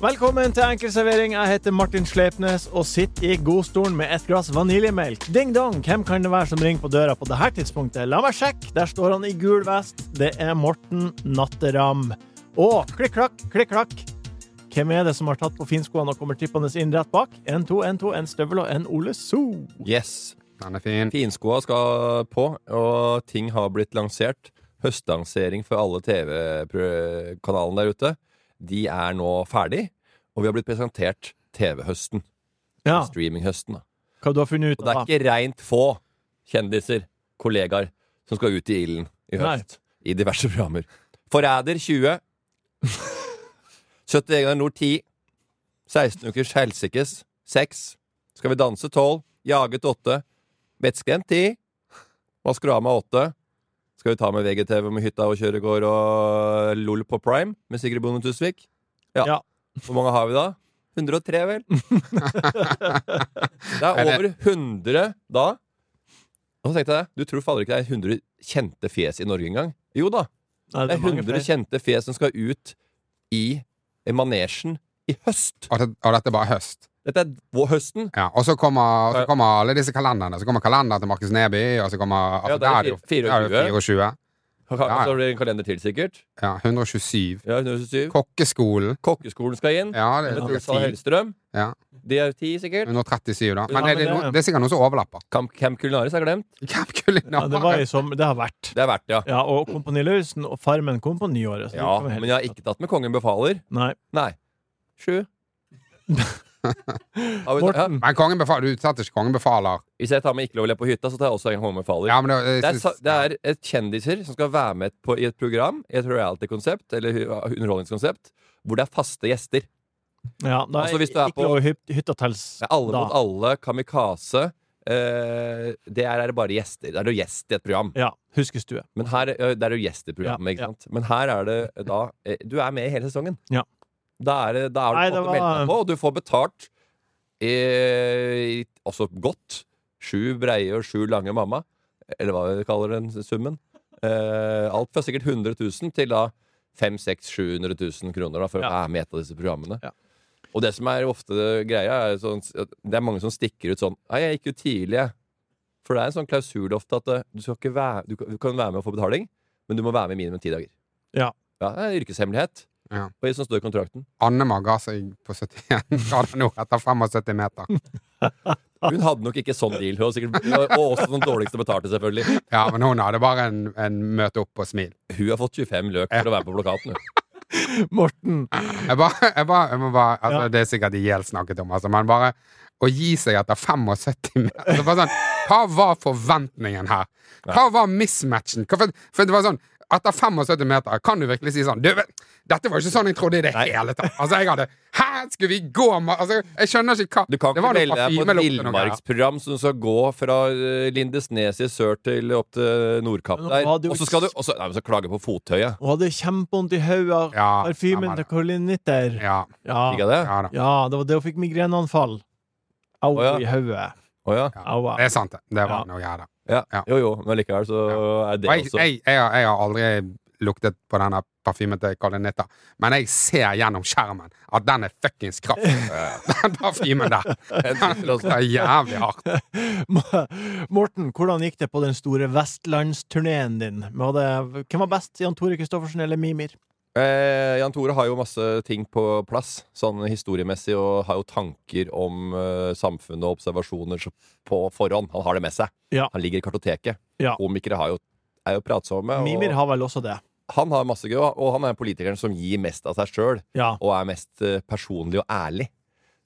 Velkommen til Enkel servering. Jeg heter Martin Sleipnes og sitter i godstolen med et glass vaniljemelk. Ding dong, hvem kan det være som ringer på døra på dette tidspunktet? La meg sjekke. Der står han i gul vest. Det er Morten Natteram. Og klikk klakk, klikk klakk. Hvem er det som har tatt på finskoene og kommer trippende inn rett bak? En, to, en, to, en støvel og en Ole So. Yes. Den er fin. Finskoa skal på, og ting har blitt lansert. Høstlansering for alle TV-kanalene der ute. De er nå ferdig, og vi har blitt presentert TV-høsten. Ja, Streaminghøsten. da. hva du har funnet Og ut det av? er ikke reint få kjendiser, kollegaer, som skal ut i ilden i høst. I diverse programmer. Forræder 20. 71 ganger nord 10. 16 ukers helsikes 6. Skal vi danse 12. Jaget 8. Vettskremt 10. Vasker av meg 8. Skal vi ta med VGTV med hytta og kjøregård og LOL på Prime med Sigrid Bonde Tusvik? Ja. Ja. Hvor mange har vi da? 103, vel? Det er over 100 da. Og så tenkte jeg, du tror faller ikke det er 100 kjente fjes i Norge engang? Jo da, Nei, det er mange 100 flere. kjente fjes som skal ut i manesjen i høst. Og, det, og dette er bare høst. Dette er vår høsten. Ja, og så kommer, så Ja. kommer alle disse kalenderne. Så kommer kalenderen til Markus Neby, og så kommer Ja, der er Afrodadeo. fire- Der er det 24. 24. Så Ja, ja. har vi altså, en kalender til, sikkert. Ja, 127. Ja, 127. Kokkeskolen. Kokkeskolen skal inn. Ja, det Med er Truls Sand noe ti. Hellstrøm. Ja. De er ti, sikkert. 137, da. Ja, Men det, det, men er det- no- det er sikkert noen som overlapper. Camp, Camp Culinaris er glemt. Camp Ja, det, var Culinaris. i som, det har vært. Det er verdt det, ja. Ja, og Kompani Lauritzen og Farmen kom på nyåret. så det ja. kan vi helst- Men jeg har ikke tatt med Kongen befaler. Nei. Nei. Sju. Ja, vet du- ja, Morten. Men kongen befaler, du tatt ikke kongen befaler. Hvis jeg tar med Ikke lov å le på hytta, så tar jeg også en Kongen befaler. Ja, men det, jeg Det er, sa- synes- det er et kjendiser som skal være med på, i et program, i et reality-konsept, eller hu- underholdningskonsept, hvor det er faste gjester. Ja, da Altså, er hvis du er ikke på- lov å hy hytta tels Det er alle da. mot alle, kamikaze. Eh, det er, er det bare gjester. Det er jo gjest i et program. Ja, huskestue. Men her, ø, det er jo gjest i programmet, Ja, ikke sant? Men her er det da eh, Du er med i hele sesongen. Ja. Da er det, da er Nei, du på en det måte meldt var- deg på, og du får betalt eh, i- også godt. Sju breie og sju lange mamma, eller hva vi kaller den summen. Eh, alt fra sikkert 100 000 til da 500 000-700 000 kroner da, for å Ja. være med i et av disse programmene. Ja. Og det som er ofte greia, er sånn, at det er mange som stikker ut sånn Nei, jeg gikk jo tidlig, jeg. For det er en sånn klausul ofte at eh, du, skal ikke være, du, kan, du kan være med og få betaling, men du må være med i minimum ti dager. Ja. ja det er en yrkeshemmelighet. Ja. Og det som står i kontrakten. Annema ga seg på 71 grader nå etter 75 meter. Hun hadde nok ikke sånn deal. Hun var sikkert, og også den dårligste betalte, selvfølgelig. Ja, men hun hadde bare en, en møte opp og smil. Hun har fått 25 løk for å være på plakaten. hun. Morten! Jeg bare, jeg bare, jeg må bare altså, Ja. Det er sikkert IL snakket om, altså, men bare å gi seg etter 75 meter altså, bare sånn, Hva var forventningen her? Hva var mismatchen? Hva, for, for det var sånn etter 75 meter kan du virkelig si sånn du, vet, Dette var ikke sånn jeg trodde i det hele tatt. Altså, jeg hadde Hæ, skulle vi gå med altså, Jeg skjønner ikke hva Du kan ikke Det var noe melde deg på et parfymelukt og noe greier. villmarksprogram som skal gå fra eh, Lindesnes i sør til opp til Nordkapp Men nå der. var det jo Og så skal du og så- nei, men så klage på fottøyet. Hun hadde kjempevondt i hodet av Ja, parfymen stemmer til det. Caroline Nitter. Ja, Ja. Ikke det? ja da. ja, det var det hun fikk migreneanfall. Au Å, ja. i hodet. Å ja. Ja. Au, au. Det er sant, det. Det Ja. var noe greier der. ja. Ja. Jo jo, men likevel så er det Og jeg, også jeg, jeg, har- jeg har aldri luktet på denne parfymen til Carlin Nitta, men jeg ser gjennom skjermen at den er fuckings kraft. den parfymen der. altså. Den lukter jævlig hardt. Morten, hvordan gikk det på den store vestlandsturneen din? Var det, hvem var best? Jan Tore Kristoffersen eller Mimir? Eh, Jan Tore har jo masse ting på plass, sånn historiemessig, og har jo tanker om eh, samfunnet og observasjoner så- på forhånd. Han har det med seg. Ja. Han ligger i kartoteket. Ja. Komikere har jo, er jo pratsomme. Og Mimir har vel også det. Han har masse gøy, og han er politikeren som gir mest av seg sjøl, Ja. og er mest eh, personlig og ærlig.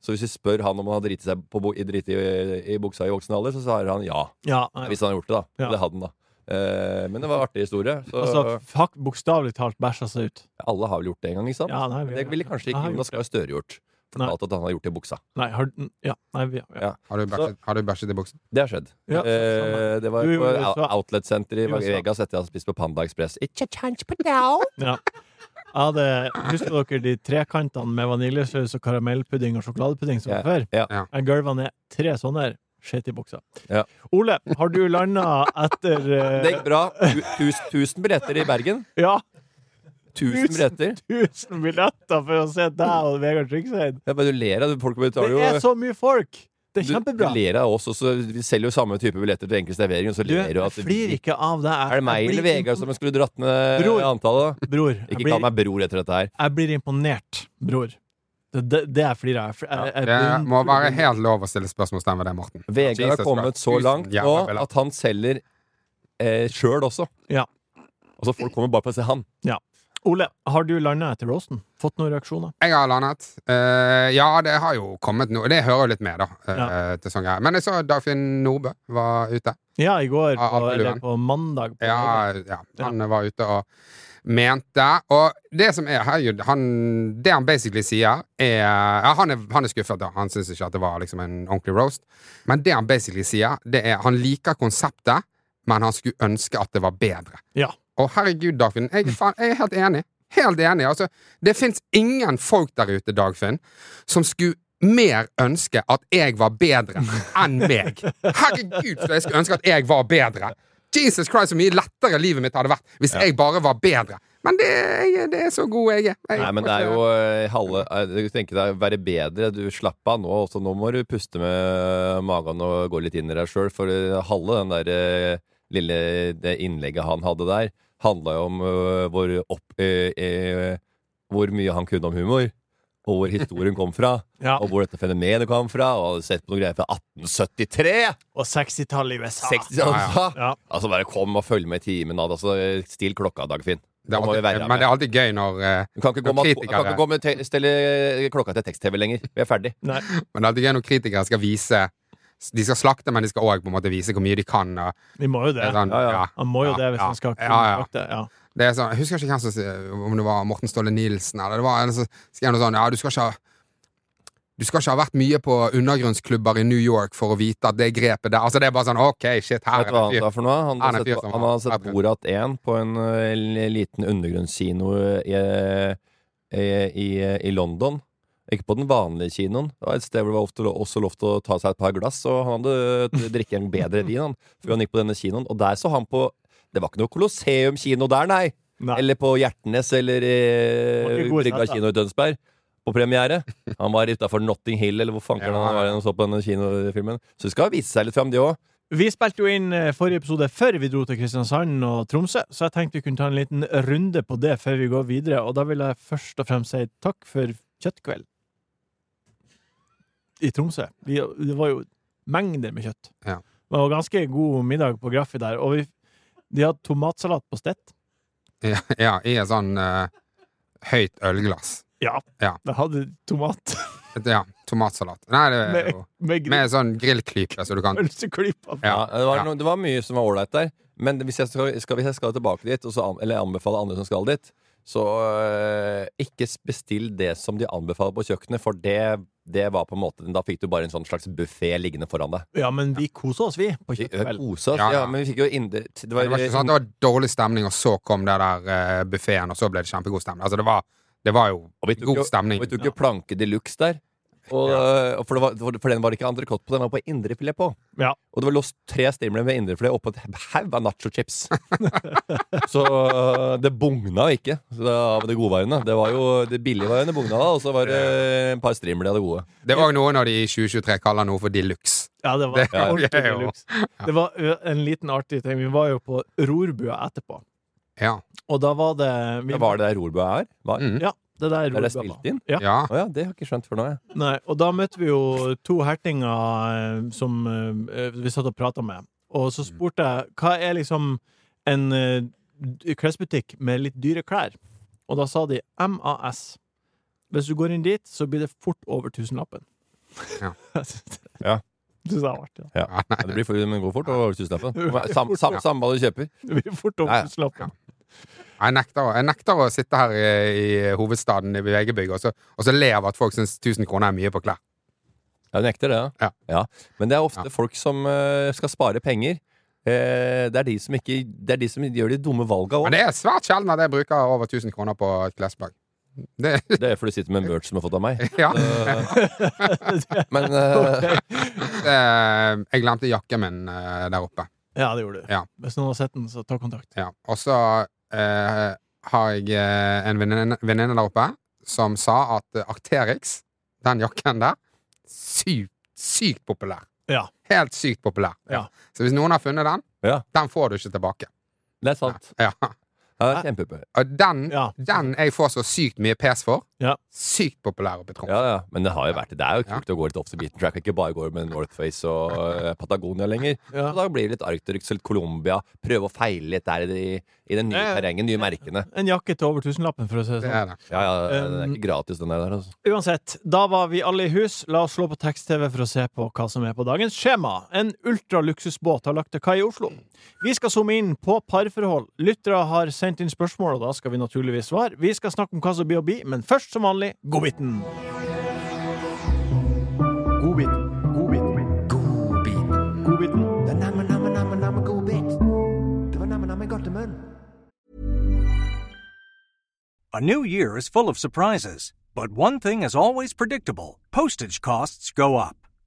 Så hvis vi spør han om han har driti seg på bu- i, driti i, i buksa i voksen alder, så svarer han ja. ja. Hvis han har gjort det, da. Ja. Det hadde han, da. Eh, men det var en artig historie. Så Altså, fuck, bokstavelig talt bæsja seg ut. alle har vel gjort det en gang, ikke sant? Ja, nei, vi- det ville kanskje Ja, ikke vi- Jonas Gahr Støre gjort. Nei. fortalt at han har gjort det i buksa. Nei, har du Ja. Nei, vi, ja. Ja. Har du bæsjet, har du bæsjet i buksen? Det har skjedd. Ja, eh, det var Du på gjorde det, så- Outlet-senteret i Jo, så- Vegas etter jeg hadde spist på Panda Express. It- ja. Jeg hadde, husker dere de trekantene med vaniljesaus og karamellpudding og sjokoladepudding som var før? Ja. Ja. Jeg gulva ned tre sånne her. Skjøt i buksa. Ja. Ole, har du landa etter eh, Det gikk bra. Tu- tus- Tusen billetter i Bergen. Ja, Tusen billetter. tusen billetter for å se deg og Vegard Tryggseid! Jeg bare, du ler av det. folk betaler Det jo er så mye folk! Det er du, du kjempebra. ler av oss, og så vi selger jo samme type billetter til enkel servering. Og så Du, ler du jeg at flirer ikke av deg. Jeg- Er det meg jeg eller blir Vegard som impo- skulle dratt ned Bror. antallet? Bror, jeg Ikke kall blir, meg bror etter dette her. jeg blir imponert, bror. Det, det, det jeg flirer av. Jeg- jeg- jeg Det blir- må være helt lov å stille spørsmålstegn ved det, Morten. Vegard har Jesus kommet Christ. så Tusen langt nå jævla billetter. at han selger eh, sjøl også. Ja. Altså Folk kommer bare for å se han. Ole, har du landa etter roasten? Fått noen reaksjoner? Jeg har landet. Eh, ja, det har jo kommet noe. Det hører jo litt med, da. eh, til sånne greier. Men jeg så Dagfinn Nordbø var ute. Ja, i går, Ja, på, eller Alpeluen. på mandag. På Ja, ja. Han var ute og mente Og det som er herregud, han, Det han basically sier, er ja, han, er han er skuffet, da. Han syns ikke at det var liksom en ordentlig roast. Men det han basically sier, det er han liker konseptet, men han skulle ønske at det var bedre. Ja. Og herregud, Dagfinn, jeg, Mm. er faen, jeg er helt enig. Helt enig. Altså, det fins ingen folk der ute, Dagfinn, som skulle mer ønske at jeg var bedre enn meg. Herregud, så jeg skulle ønske at jeg var bedre. Jesus Christ, så mye lettere livet mitt hadde vært hvis jeg bare var bedre. Men det, jeg, det er så god jeg er. Jeg, Nei, men det er jo eh, halve eh, Tenk deg å være bedre. Du Slapp av nå også. Nå må du puste med eh, magen og gå litt inn i deg sjøl, for eh, halve den der eh, lille det innlegget han hadde der, handla jo om eh, hvor opp eh, eh, Hvor mye han kunne om humor, og hvor historien kom fra, Ja, og hvor dette fenomenet kom fra, og hadde sett på noen greier fra 1873! og 60-tallet i USA. 60, Ja, altså. Ja. altså, bare kom og følg med i timen. Ad. Altså, still klokka, Dagfinn. det Da er må vi være alltid, med. men det er alltid gøy når eh, Du kan ikke gå Noen med, at- kritikere. kan ikke gå med te stelle klokka til tekst-TV lenger. Vi er ferdig. Nei. Men det er alltid gøy når kritikere skal vise De skal slakte, men de skal òg vise hvor mye de kan. Og, Vi må jo det. sånn, Ja, ja. Han må jo ja, det hvis ja, han skal ja, ja. kontakte. Ja. Det er sånn, jeg husker ikke hvem som sier- om det var Morten Ståle Nilsen eller det var en som skrev noe sånn Ja, du skal ikke ha du skal ikke ha vært mye på undergrunnsklubber i New York for å vite at det grepet der Altså, det er bare sånn OK, shit, her Vet du hva er han det sa fyr. for noe? Han, Han hadde er fyr sett, som han har- hadde sett Borat 1 på en eh, liten undergrunnskino i, i, i, eh, i London. Ikke på den vanlige kinoen. Det var et sted hvor det var ofte, lo- også lov til å ta seg et par glass, og han hadde drikket en bedre vin han, før han gikk på denne kinoen. Og der så han på Det var ikke noe Colosseum-kino der, nei! Nei. Eller på Hjertnes eller var eh, ikke god Brygga sett, da. kino i Tønsberg. På premiere. Han var utafor Notting Hill, eller hvor fanker Ja, han var ja. og så på denne kinofilmen. Så det skal vise seg litt fram, de òg. Vi spilte jo inn eh, forrige episode før vi dro til Kristiansand og Tromsø, så jeg tenkte vi kunne ta en liten runde på det før vi går videre. Og da vil jeg først og fremst si takk for kjøttkveld i Tromsø. Vi, det var jo mengder med kjøtt. Ja. Det var ganske god middag på Graffi der, og vi, de hadde tomatsalat på stett. Ja, ja, i et sånn eh, høyt ølglass. Ja, Ja. de hadde tomat Et- Ja, tomatsalat. Nei, det er med, jo med med sånn grillklype, så du kan pølseklyper. Ja, Ja. det, var ja. noe- det var mye som var ålreit der. Men hvis jeg skal, skal, hvis jeg skal tilbake dit, og så an, eller anbefale andre som skal dit, så øh, ikke s- bestill det som de anbefaler på kjøkkenet, for det, det var på en måte Da fikk du bare en sånn slags buffé liggende foran deg. Ja, men vi kosa oss, vi, på Vi øh, kjøttkveld. kosa oss, Ja, ja, ja. men vi fikk jo inder... Det var, Det var ikke sånn at det var dårlig stemning, og så kom det der uh, buffeen, og så ble det kjempegod stemning. Altså, det var, det var jo og vi tok god jo- stemning. og Vi tok jo planke de luxe der. Og, øh, og for, det var, for- for den var det ikke entrecôte på, den var på indrefilet på. Ja. Og det var låst tre strimler med indrefilet oppå et haug av nachochips. så øh, det bugna jo ikke så det av det godveiene. Det var jo det billige veiene bugna, da, og så var det et par strimler av det gode. Det var òg noe når de i 2023 kaller noe for de luxe. Ja, det var Det- ja, ordentlig det er jo- deluxe. Det var ø, en liten artig ting. Vi var jo på Rorbua etterpå, Ja. og da var det vi, Det var det der Rorbua er? Var? Mm. Ja, det der Der det er Rorbua var. spilt inn? Ja. ja. Å ja, det har jeg ikke skjønt før nå, jeg. Nei, og da møtte vi jo to hertinger ø, som ø, vi satt og prata med, og så Mm. spurte jeg hva er liksom en ø, d- klesbutikk med litt dyre klær, og da sa de MAS. Hvis du går inn dit, så blir det fort over tusenlappen. Ja. Ja. Du sa det var artig. da. Ja. Ja, det blir for, men går fort over tusenlappen. Sam, sam, samme hva du kjøper. Det blir fort over Ja, ja. tusenlappen. Jeg nekter, å- jeg nekter å sitte her i, i hovedstaden i VG-bygg og, så- og så le av at folk syns 1000 kroner er mye på klær. Ja, du nekter det, ja. Ja. Men det er ofte Ja. folk som eh, skal spare penger. Eh, det, er de som ikke, det er de som gjør de dumme valga òg. Men det er svært sjelden at jeg bruker over 1000 kroner på et klesplagg. Det, Det er fordi du sitter med en merch som du har fått av meg. ja. Eh, men eh, Eh, jeg glemte jakken min eh, der oppe. Ja, det gjorde du. Ja. Hvis noen har sett den, så ta kontakt. Ja. Og så eh, har jeg eh, en venninne venninne der oppe som sa at eh, Arcterix, den jakken der, sykt, sykt populær. Ja. Helt sykt populær. Ja. Så hvis noen har funnet den, Ja. den får du ikke tilbake. det er sant. Ja. Ja, det er kjempepe. Og den, Ja. den jeg får så sykt mye pes for, Ja. sykt populær oppe i Troms. Ja, ja. Men det har jo vært det. Det er jo kult å gå litt off the beaten track. og Ikke bare gå med Northface og eh, Patagonia lenger. Ja. Og da blir det litt Arcterix eller Colombia. Prøve å feile litt der i, de- i den nye Ja, ja. terrengen, nye merkene. En jakke til over tusenlappen, for å si det Det sånn. er det. Ja, ja, det er ikke gratis, den der. Altså. Uansett, da var vi alle i hus. La oss slå på tekst-TV for å se på hva som er på dagens skjema. En ultraluksusbåt har lagt til kai i Oslo. Vi skal zoome inn på parforhold. Lyttere har sendt inn spørsmål, og da skal vi naturligvis svare. Vi skal snakke om hva som blir å bli, men først som vanlig godbiten. Godbiten. Godbiten. Godbit. Godbiten. Det er namme, namme, namme, namme godbit. Det var namme, namme godt i munnen. A new year is full of surprises, but one thing is always predictable postage costs go up.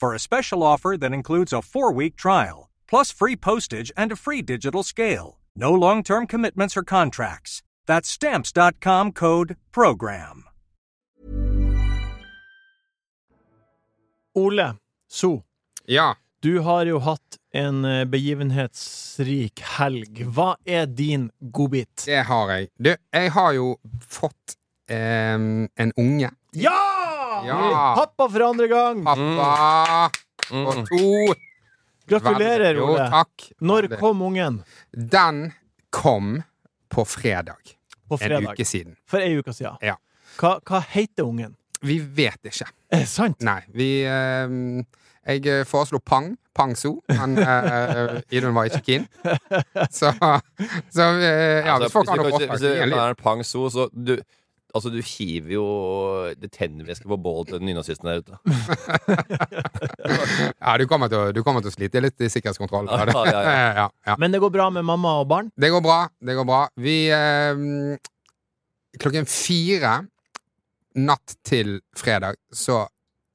for a special offer that includes a four week trial, plus free postage and a free digital scale. No long term commitments or contracts. That's Stamps.com code PROGRAM. Ole So, Ja. du har jo hatt en eh, begivenhetsrik helg. Hva er din godbit? Det har jeg. Du, jeg har jo fått eh, en unge. Ja! Ja. Pappa for andre gang! Pappa! Og to Mm. Gratulerer, Vel- Ole. Jo, takk. Når Veldig. kom ungen? Den kom på fredag. På En fredag. uke siden. For ei uke siden. Ja. Hva, hva heter ungen? Vi vet ikke. Er det sant? Nei, vi eh, Jeg eh, foreslo Pang. Pang Zoo. Men eh, Idun var ikke keen. Så, så eh, ja, Altså, hvis folk har du- noe hvis du- forslag, hvis du- gi en det lyd. er en pang so, så du, altså, du hiver jo det tennvæske på bålet til den nynazisten der ute. Ja, du kommer, til, å- du kommer til å slite litt i sikkerhetskontrollen. Ja, ja, ja. ja, ja. Men det går bra med mamma og barn? Det går bra. Det går bra. Vi eh, Klokken fire natt til fredag så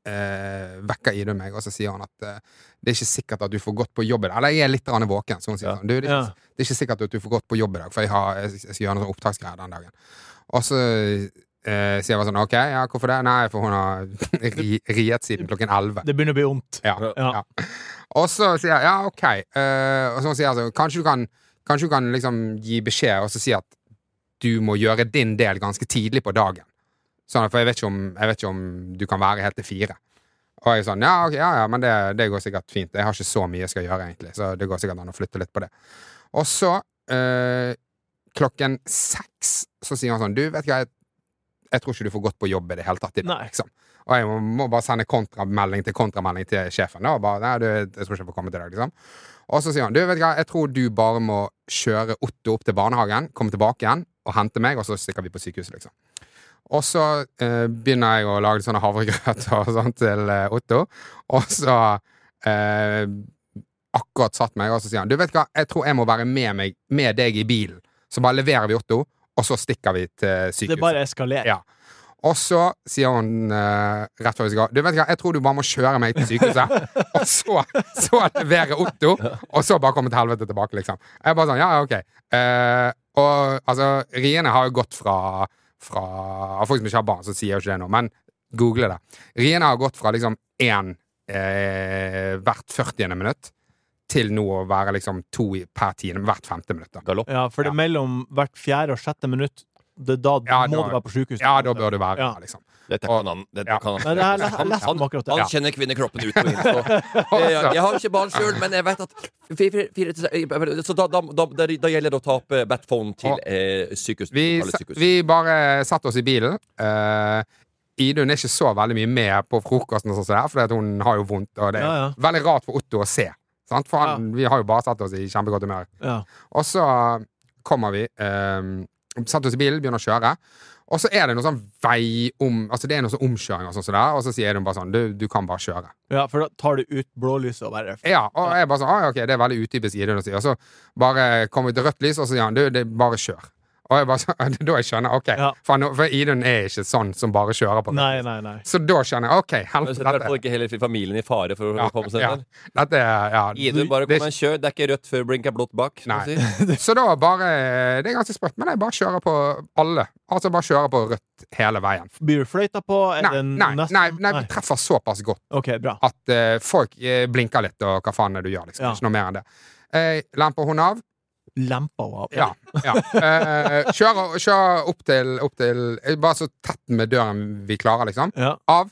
eh, vekker Idun meg, og så sier han at eh, det er ikke sikkert at du får gått på jobb i dag. Eller jeg er litt grann våken, så hun sier Ja. sånn. Du, det, er Ja. ikke, det er ikke sikkert at du får gått på jobb i dag, for jeg, har, jeg, jeg skal gjøre noen sånn opptaksgreier den dagen. Og så eh, sier jeg bare sånn OK, ja, hvorfor det? Nei, for hun har ri, riet siden klokken elleve. Det begynner å bli vondt. Ja, Ja. ja. Og så sier jeg ja, ok. eh, og så sier jeg altså, kanskje du kan, kanskje du kan liksom gi beskjed og så si at du må gjøre din del ganske tidlig på dagen. Sånn, for jeg vet, ikke om, jeg vet ikke om du kan være helt til fire. Og jeg er sånn, ja, ok, ja, ja, men det, det går sikkert fint. Jeg har ikke så mye jeg skal gjøre, egentlig. Så det går sikkert an å flytte litt på det. Og så, eh, klokken seks, så sier han sånn, du vet ikke hva, jeg, jeg tror ikke du får gått på jobb i det hele tatt i dag. Nei. Liksom. Og jeg må, må bare sende kontramelding til kontramelding til sjefen. Da, og bare, nei, du, jeg tror ikke jeg får komme til deg, liksom. Og så sier han, du vet ikke hva, jeg tror du bare må kjøre Otto opp til barnehagen, komme tilbake igjen og hente meg, og så stikker vi på sykehuset, liksom. Og så eh, begynner jeg å lage sånne havregrøt og sånt til eh, Otto. Og så eh, akkurat satt meg, og så sier han Du vet hva, jeg tror jeg må være med, meg, med deg i bilen. Så bare leverer vi Otto, og så stikker vi til Det sykehuset. bare eskalerer. Ja. Og så sier hun eh, rett før vi skal gå Du vet hva, jeg tror du bare må kjøre meg til sykehuset. og så, så levere Otto, og så bare komme til helvete tilbake, liksom. Jeg bare sånn, ja, ja, ok. Eh, og altså, riene har jo gått fra, fra av Folk som ikke har barn, så sier jo ikke det nå, men google det. Riene har gått fra liksom én eh, hvert 40. minutt til nå å være liksom to i- per tiende, hvert femte minutt. da. Galopp. Ja, for det Ja. er mellom hvert fjerde og sjette minutt det, Da Ja, må da- du være på sykehus. Ja, da bør du være Ja. der, liksom. Dette Og- kan han. Dette ja. kan Nei, han. det her- jeg leste om akkurat det. Han Ja. kjenner kvinnekroppen ut og inn. Så. Jeg, altså, jeg, jeg har ikke barn sjøl, men jeg vet at fire, fire, fire, til- Så da, da, da, da, da gjelder det å ta opp eh, Batphone til Og- eh, sykehus. Vi, lokale sykehus. vi bare satte oss i bilen. Eh, Idun er ikke så veldig mye med på frokosten, og sånn som det er, fordi at hun har jo vondt. Og det er Ja, ja. veldig rart for Otto å se. Sant? For han, Vi har jo bare satt oss i kjempegodt humør. Ja. Og så kommer vi eh, Satt oss i bilen, begynner å kjøre. Og så er det noe sånn vei om Altså det er noe sånn omkjøring og sånn som det er, og så sier Idun bare sånn Du, du kan bare kjøre. ja, for da tar du ut blålyset og bare Ja, og jeg bare sånn, ah, ja, ok, det er veldig utypisk Idun å si. Og så bare kommer vi til rødt lys, og så sier han, du, det er bare kjør. Og jeg bare sånn, da jeg skjønner, ok, Ja. for, nå- for Idun er ikke sånn som bare kjører på rødt Nei, lys. nei, nei. Så da skjønner jeg, ok, Men helvete, setter i hvert fall ikke hele familien i fare for å ja, komme seg ja, ned. dette, er- ja. Idun, bare det- kom og kjør. Det er ikke rødt før blink er blått bak. som Nei. du sier. Så da bare, det er ganske sprøtt, men jeg bare kjører på alle. Altså bare kjører på rødt hele veien. Blir du fløyta på? Er Nei, den nei, nesten- nei, nei, vi treffer såpass godt. OK, bra. at eh, folk eh, blinker litt, og hva faen er det du gjør, liksom. Ja. Ikke noe mer enn det. Eh, lemper hun av. Lempa henne av. Ja. ja. Eh, kjør, kjør opp til, opp til eh, Bare så tett med døren vi klarer, liksom. Ja. Av.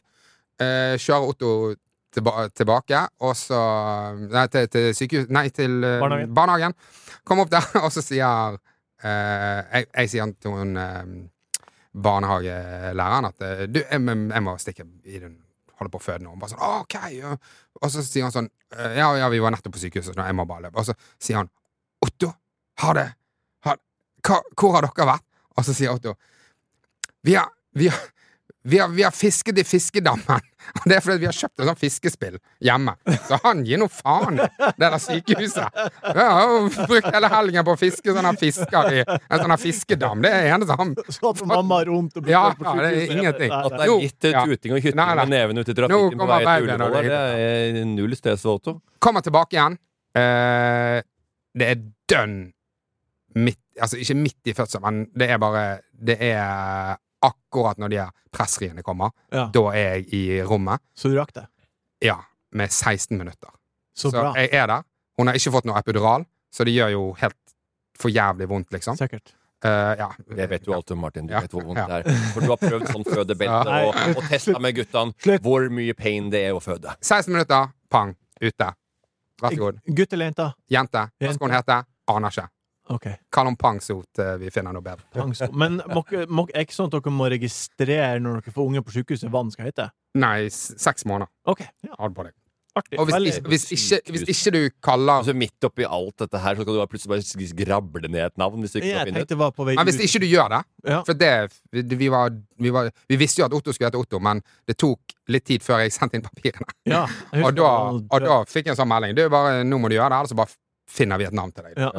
Eh, kjører Otto tilba tilbake, og så Nei, til, til sykehus... Nei, til eh, Barnehagen. barnehagen. Kom opp der, og så sier eh, jeg, jeg sier til hun eh, barnehagelæreren at eh, du, jeg, jeg- jeg må stikke i den holder på å føde nå. Hun bare sånn, «Å, ok, ja.» Og så sier han sånn, «Eh, ja, ja, vi var nettopp på sykehuset, så jeg må bare løpe. Og så sier han, Otto, har det, har, hva, hvor har dere vært? Og så sier Otto, vi har, vi har, vi har, vi har fisket i fiskedammen. Og det er fordi vi har kjøpt et sånt fiskespill hjemme. Så han gir noe faen, det der sykehuset. Vi har jo brukt hele helgen på å fiske sånne fisker i en sånn her fiskedam. Det er det eneste han Så at mamma har vondt og blir Ja, fløyta på ja, det er sykehuset. ingenting. Nei, At nei. det er Jo, litt eh, ja. tuting og hytting Nei, nei. med neven ut i Nå trafikken på kommer vei til babyen, og det Ullevål. er Det er eh, null stress for Otto. Kommer tilbake igjen. Eh, det er dønn midt Altså ikke midt i fødselen, men det er bare Det er akkurat når de her pressriene kommer. Ja. Da er jeg i rommet. Så du rakk det? Ja, med 16 minutter. Så bra. jeg er der. Hun har ikke fått noe epidural, så det gjør jo helt for jævlig vondt, liksom. Sikkert. Eh, ja. Det vet du alt om, Martin. Du Ja. vet hvor vondt Ja. det er. For du har prøvd sånn fødebelte Ja. og, og testa med guttene Slutt. hvor mye pain det er å føde. 16 minutter, pang, ute. Vær så god. Gutt eller jente? Jente. Hva skal hun hete? Aner ikke. OK. Kall henne Pang så fort eh, vi finner noe bedre. Pangsko. Men må, ikke- må, er ikke sånn at dere må registrere når dere får unge på sykehuset, hva den skal hete? Nei, s- seks måneder. OK. Ja, Ha det på deg. artig. Og hvis, Veldig- ikke- hvis, ikke, hvis ikke du kaller Altså Midt oppi alt dette her, så skal du bare plutselig bare grable ned et navn. Hvis du ikke Jeg kan finne tenkte ut det var på vei Nei, hvis ut. ikke du gjør det Ja. For det, vi, vi, var, vi, var, vi visste jo at Otto skulle hete Otto, men det tok litt tid før jeg sendte inn papirene. Ja, jeg husker Og da, det var- og da fikk jeg en sånn melding. Du, bare, nå må du gjøre det, ellers så bare finner vi et navn til deg. ja.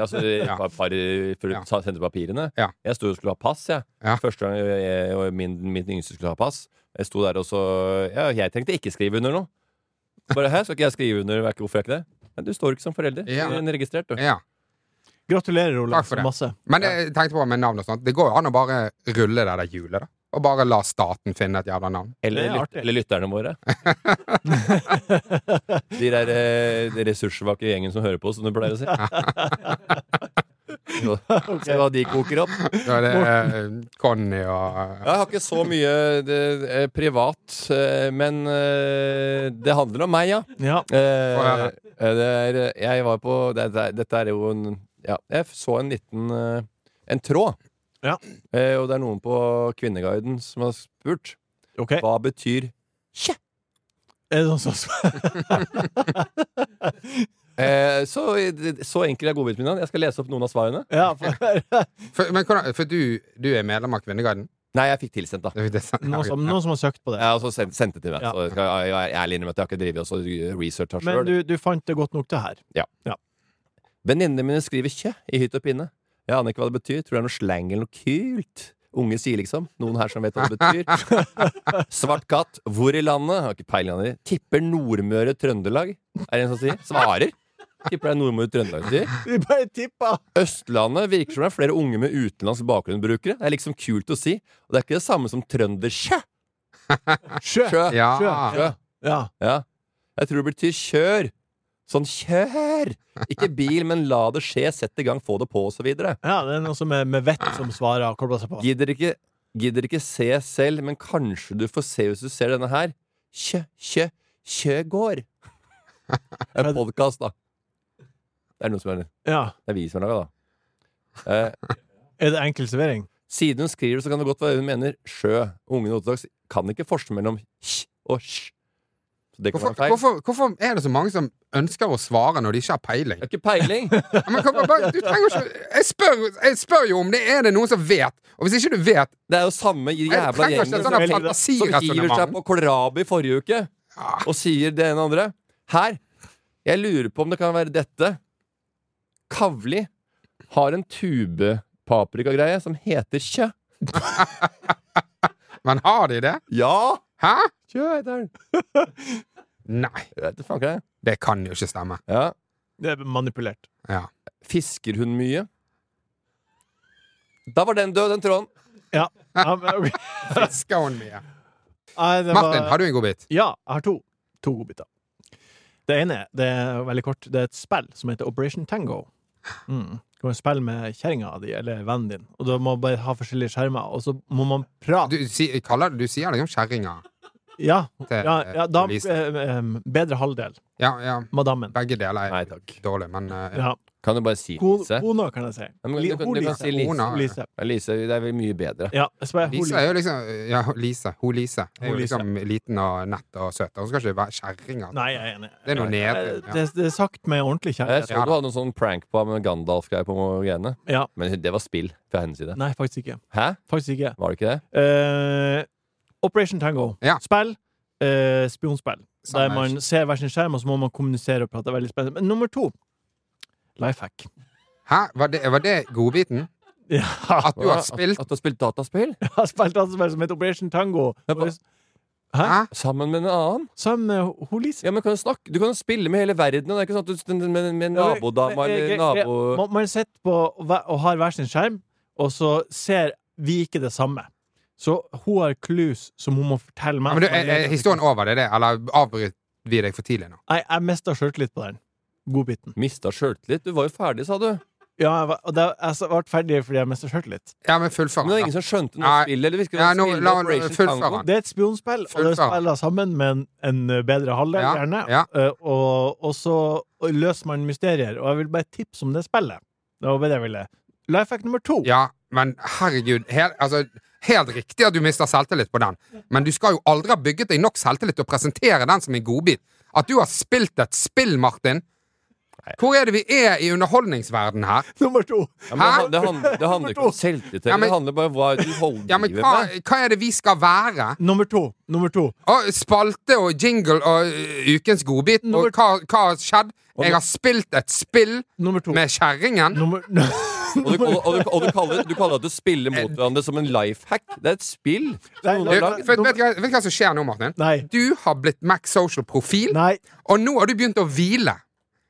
ja, så det- Ja. par, par, For Ja. å ta- sende papirene. Ja. Jeg sto og skulle ha pass, jeg. Ja. Første gang jeg, og min, min yngste skulle ha pass. Jeg sto der og så Ja, jeg tenkte ikke skrive under nå. Bare hæ, skal ikke jeg skrive under? Vet ikke Hvorfor jeg ikke det? Men du står ikke som forelder. Ja. Du er registrert, du. Ja. Gratulerer, Olav. Takk for så det. Masse. Men eh, jeg tenkte på med navn og sånt. Det går jo an å bare rulle det der hjulet, da. Og bare la staten finne et jævla navn. Eller, Det er lyt- artig. eller lytterne våre. De der eh, de ressurssvake gjengen som hører på, som du pleier å si. Så- Se hva de koker opp. Da er det eh, Conny og Jeg har ikke så mye det, eh, privat, eh, men eh, det handler om meg, ja. Ja. Eh, høre. eh, det er, jeg var på det, det, Dette er jo en ja, Jeg så en liten eh, En tråd. Ja. Eh, og det er noen på Kvinneguiden som har spurt OK. hva betyr Er det noen som eh, så, så enkel er godbiten min. da. Jeg skal lese opp noen av svarene. Ja, for eh, For, men, hvordan- for du, du er medlem av Kvinneguiden? Nei, jeg fikk tilsendt, da. Det er sant. noen som, noen som har søkt på det. Jeg har også sendt, sendt det til meg. Ja. Så jeg, skal, jeg, jeg er ærlig innrømme at jeg har ikke drevet og researcha Men sjøl. du, du fant det godt nok til her. Venninnene mine skriver 'kjø' i hytt og pinne. Jeg aner ikke hva det betyr. Tror det er noe slang eller noe kult. Unge sier liksom. Noen her som vet hva det betyr. Svart katt. Hvor i landet? Har ikke peiling av det. Tipper Nordmøre Trøndelag. Er det en som sier? Svarer. Tipper det er Nordmøre Trøndelag som sier. Vi bare tippa! Østlandet virker som det er flere unge med utenlandsk bakgrunn brukere. Det er liksom kult å si. Og det er ikke det samme som trøndersjø. Sjø! Sjø. Ja. Sjø. Ja. Ja. Jeg tror det betyr kjør. Sånn kjør! Ikke bil, men la det skje, sett i gang, få det på, osv. ja, det er noe som er med vett som svarer og kobler seg på. Gidder ikke, gidder ikke se selv, men kanskje du får se hvis du ser denne her. Kjø, kjø, kjø går. En podkast, da. Det er noen som er det. Ja. Det er vi som har laga, da. Eh, Er det enkel servering? siden hun skriver, så kan det godt være hun mener sjø. Ungen Ottedals kan ikke forskjell mellom kj og sj. Så det kan Hvorfor, være feil. hvorfor, hvorfor er det så mange som ønsker å svare når de ikke har peiling? Jeg har ikke peiling. Ja, Men, kom, bare, du trenger ikke, jeg, spør, jeg spør jo om det er det noen som vet. Og hvis ikke du vet Det er jo samme Jeg jævla trenger ikke gjengen et som sånt hiver seg fantasiresonnement. på kålrabi forrige uke og sier det ene og andre. Her! Jeg lurer på om det kan være dette. Kavli har en tubepaprikagreie som heter kjø. Men har de det? Ja! Hæ? Kjø heter den. Nei, Jeg vet ikke faen hva det er. det kan jo ikke stemme. Ja. Det er manipulert. Ja. Fisker hun mye? Da var den død, den tråden. Ja. ja men, ok. Fisker hun mye? Nei, det Martin, var- har du en god bit? Ja, jeg har to. To godbiter. Det ene det er veldig kort. Det er et spill som heter Operation Tango. Mm. Du kan spille med kjerringa di eller vennen din, og da må man bare ha forskjellige skjermer, og så må man Du, prate. si, kaller, du sier liksom kjerringa Ja, til ja, eh, ja da Elise. eh, em, Bedre halvdel. Ja, ja. Madammen. Begge deler Nei er takk. dårlig, men eh, Ja. Kan du bare si Lise? Kona, kan jeg si. men du Li- kan- du Hun kan si Lise. Hun Lise. Ja, Lise, det er vel mye bedre. Ja, jeg spør, hun Lise Lise. er jo liksom Ja, Lise. Hun Lise er jo Hun Lise. liksom liten og nett og søt. Hun skal ikke være kjerringa. Nei, jeg er enig. Det er noe nedre. Eh, Ja. Det, det er sagt med ordentlig Jeg kjærlighet. så du hadde en sånn prank på med Gandalf-greier på greiene. Ja. Men det var spill fra hennes side. Nei, faktisk ikke. Hæ? Faktisk ikke. Var det ikke det? Eh, Operation Tango. Ja. Spill. eh, spionspill. Der Samme man ser hver sin skjerm, og så må man kommunisere og prate. Veldig spennende. Men nummer to Life hack. Hæ? Var det, var det godbiten? Ja, At du har At- spilt At du har spilt dataspill? jeg har spilt et spill som heter Operation Tango. Men hva- Hæ? Sammen med en annen? Sammen med hun Lise. Ja, men kan du, snakke? du kan jo spille med hele verden. og Det er ikke sånn at du med, med, med Ja, men- nabodama eh, men- eller jeg- jeg- nabo... eh, Man, man sitter på og hver- og har hver sin skjerm, og så ser vi ikke det samme. Så hun har clues som hun må fortelle meg. Ja, men du, er, er historien over? Det er det? Eller avbryter vi deg for tidlig nå? Nei, jeg mista sjøltillit på den. Godbiten. Mista sjøltillit. Du var jo ferdig, sa du. Ja, jeg, var, og det, jeg ble ferdig fordi jeg mista sjøltillit. Ja, men fullfør. Men det er den, ingen da. som skjønte noe Nei. spill. Eller virker det Ja, som nå, spill la Operation fullføre Tango? den. Det er et spionspill, og det Fullfør. spiller sammen med en, en bedre halvdel, Ja, gjerne. ja. Eh, Og, og så løser man mysterier. Og jeg vil bare tipse om det spillet. Det var bare det jeg ville. Life hack nummer to. Ja, men herregud. Helt, altså, helt riktig at du mister selvtillit på den, men du skal jo aldri ha bygget deg nok selvtillit til å presentere den som en godbit. At du har spilt et spill, Martin! Hvor er det vi er i underholdningsverden her? Nummer to. Ja, men det, han- det, Hæ? handler, det handler ikke om selvtillit. Ja, men- Det handler bare om hva du holder Ja, men livet hva, med. hva er det vi skal være? Nummer to. Nummer to. Å, spalte og jingle og ø, ukens godbit, og Når- hva, hva har skjedd? Jeg har spilt et spill Nummer to. med kjerringen. Nummer, Og, du, og, og, du, og du, kaller, du kaller at du spiller mot hverandre som en life hack. Det er et spill. Nei, Som noen Du, har nei, lagd. vet, vet, du hva- vet du hva som skjer nå, Martin? nei. Du har blitt Mac Social-profil, Nei. og nå har du begynt å hvile.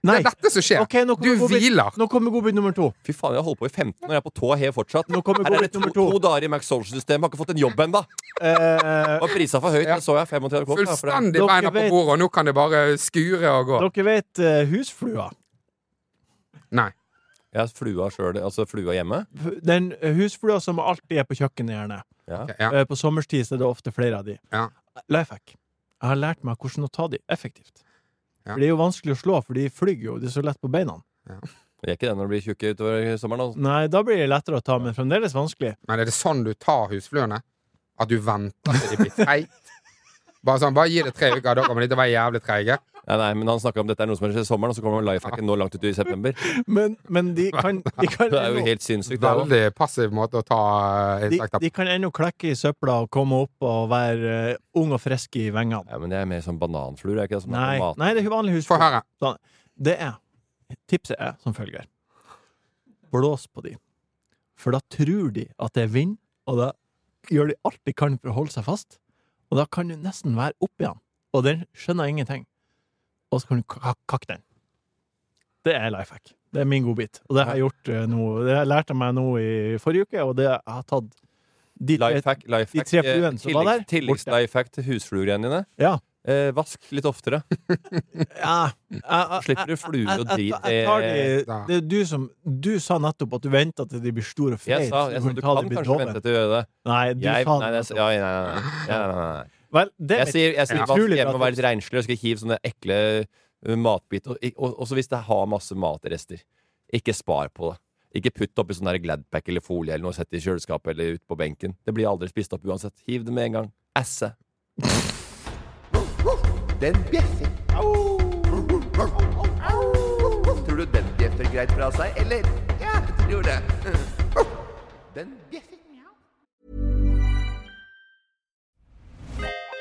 nei. Det er dette som skjer. Ok, nå kommer du godbit- hviler. Nå kommer godbit nummer to. Fy faen, jeg har holdt på i 15 og jeg er på tå hev fortsatt. Nå kommer Her er det godbit nummer to, to. to dager i Max Soldier-systemet. Har ikke fått en jobb ennå. Eh, Var prisa for høyt, Ja. det så jeg. 35 kroner. ja, for det. Fullstendig Dere beina på vet- bordet, og nå kan det bare skure og gå. dere vet eh, husflua? Nei. Jeg har flua sjøl, altså flua hjemme. Den eh, husflua som alltid er på kjøkkenet, gjerne. Ja. Ok, Ja. Eh, På sommerstid så er det ofte flere av de. Ja. Life hack. Jeg har lært meg hvordan å ta de effektivt. Ja. For det er jo vanskelig å slå, for de flyr jo. De er så lett på beina. Jeg er ikke det når det blir tjukke utover sommeren. Altså. Nei, da blir det lettere å ta, men fremdeles vanskelig. Men er det sånn du tar husfluene? At du venter til de blir feite? Bare sånn, bare gi det tre uker, da kommer de til å være jævlig treige. Nei, nei, men han snakker om dette er noe som skjer i sommeren, og så kommer life hacken nå langt ut i september. Men, men de kan De kan Det er jo ennå- helt sinnssykt. Det, også. Veldig passiv måte å ta eh, de, insekter på. de kan ennå klekke i søpla og komme opp og være eh, ung og frisk i vengene. ja, men det er mer sånn bananfluer, er ikke det? Som Nei, er på mat. nei, det er vanlig Få husflue. høre. Det er Tipset er som følger. Blås på de. For da tror de at det er vind, og da gjør de alt de kan for å holde seg fast, og da kan du nesten være oppi han, og den skjønner ingenting. Og så kan du ka- kakke den. Det er life hack. Det er min godbit. Og det har jeg gjort eh, nå. Det har jeg lært av meg nå i forrige uke, og det har jeg tatt de tre- Life hack, life de hack. tre Eh, fluene som var der, tilleggs- Tilleggs-life hack til husfluegreiene dine. Ja. Eh, vask litt oftere. ja. Jeg- jeg- Slipper du fluer og Jeg- drit. jeg- jeg tar eh, de- Det er du som Du sa nettopp at du venter til de blir store og feite. Jeg sa, jeg så sa du ta de kan blir kanskje dove. vente til å gjøre det. Nei, du Jeg, sa nei, det. det, ja, nei, nei, nei, nei, nei, nei, nei. Vel, det er Jeg mitt- sier, jeg sier Ja. vask Utrolig bra hjemme og være litt renslig og skal hive sånne ekle uh, matbiter. Og, og, og så hvis det har masse matrester, ikke spar på det. Ikke putt oppi sånn der Gladpack eller folie eller noe, sett det i kjøleskapet eller ut på benken. Det blir aldri spist opp uansett. Hiv det med en gang. Asse. Den bjeffer. Tror du den bjeffer greit fra seg, eller? Ja, jeg tror det. Den bjeffer.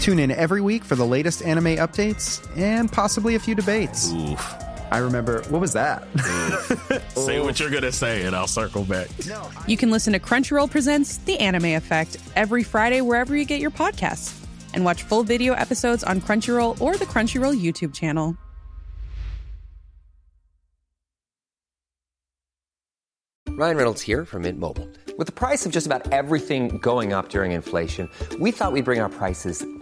Tune in every week for the latest anime updates and possibly a few debates. Oof. I remember, what was that? Say what you're gonna say, and I'll circle back. you can listen to Crunchyroll Presents The Anime Effect every Friday wherever you get your podcasts, and watch full video episodes on Crunchyroll or the Crunchyroll YouTube channel. Ryan Reynolds here from Mint Mobile. With the price of just about everything going up during inflation, we thought we'd bring our prices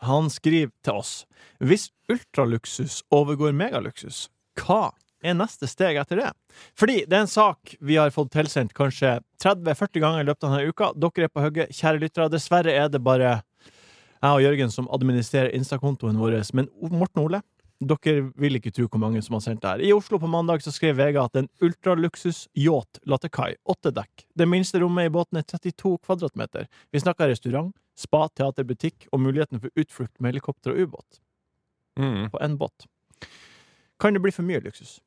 han skriver til oss Hvis ultraluksus overgår megaluksus, hva er neste steg etter det? Fordi det er en sak vi har fått tilsendt kanskje 30-40 ganger i løpet av denne uka. Dere er på hugget, kjære lyttere. Dessverre er det bare jeg og Jørgen som administrerer Insta-kontoen vår, men Morten Ole dere vil ikke tro hvor mange som har sendt det her. I Oslo på mandag så skrev Vega at en ultraluksus-yacht la til kai, åtte dekk. Det minste rommet i båten er 32 kvadratmeter. Vi snakker restaurant, spa, teater, butikk og muligheten for utflukt med helikopter og ubåt Mm. på én båt. Kan det bli for mye luksus?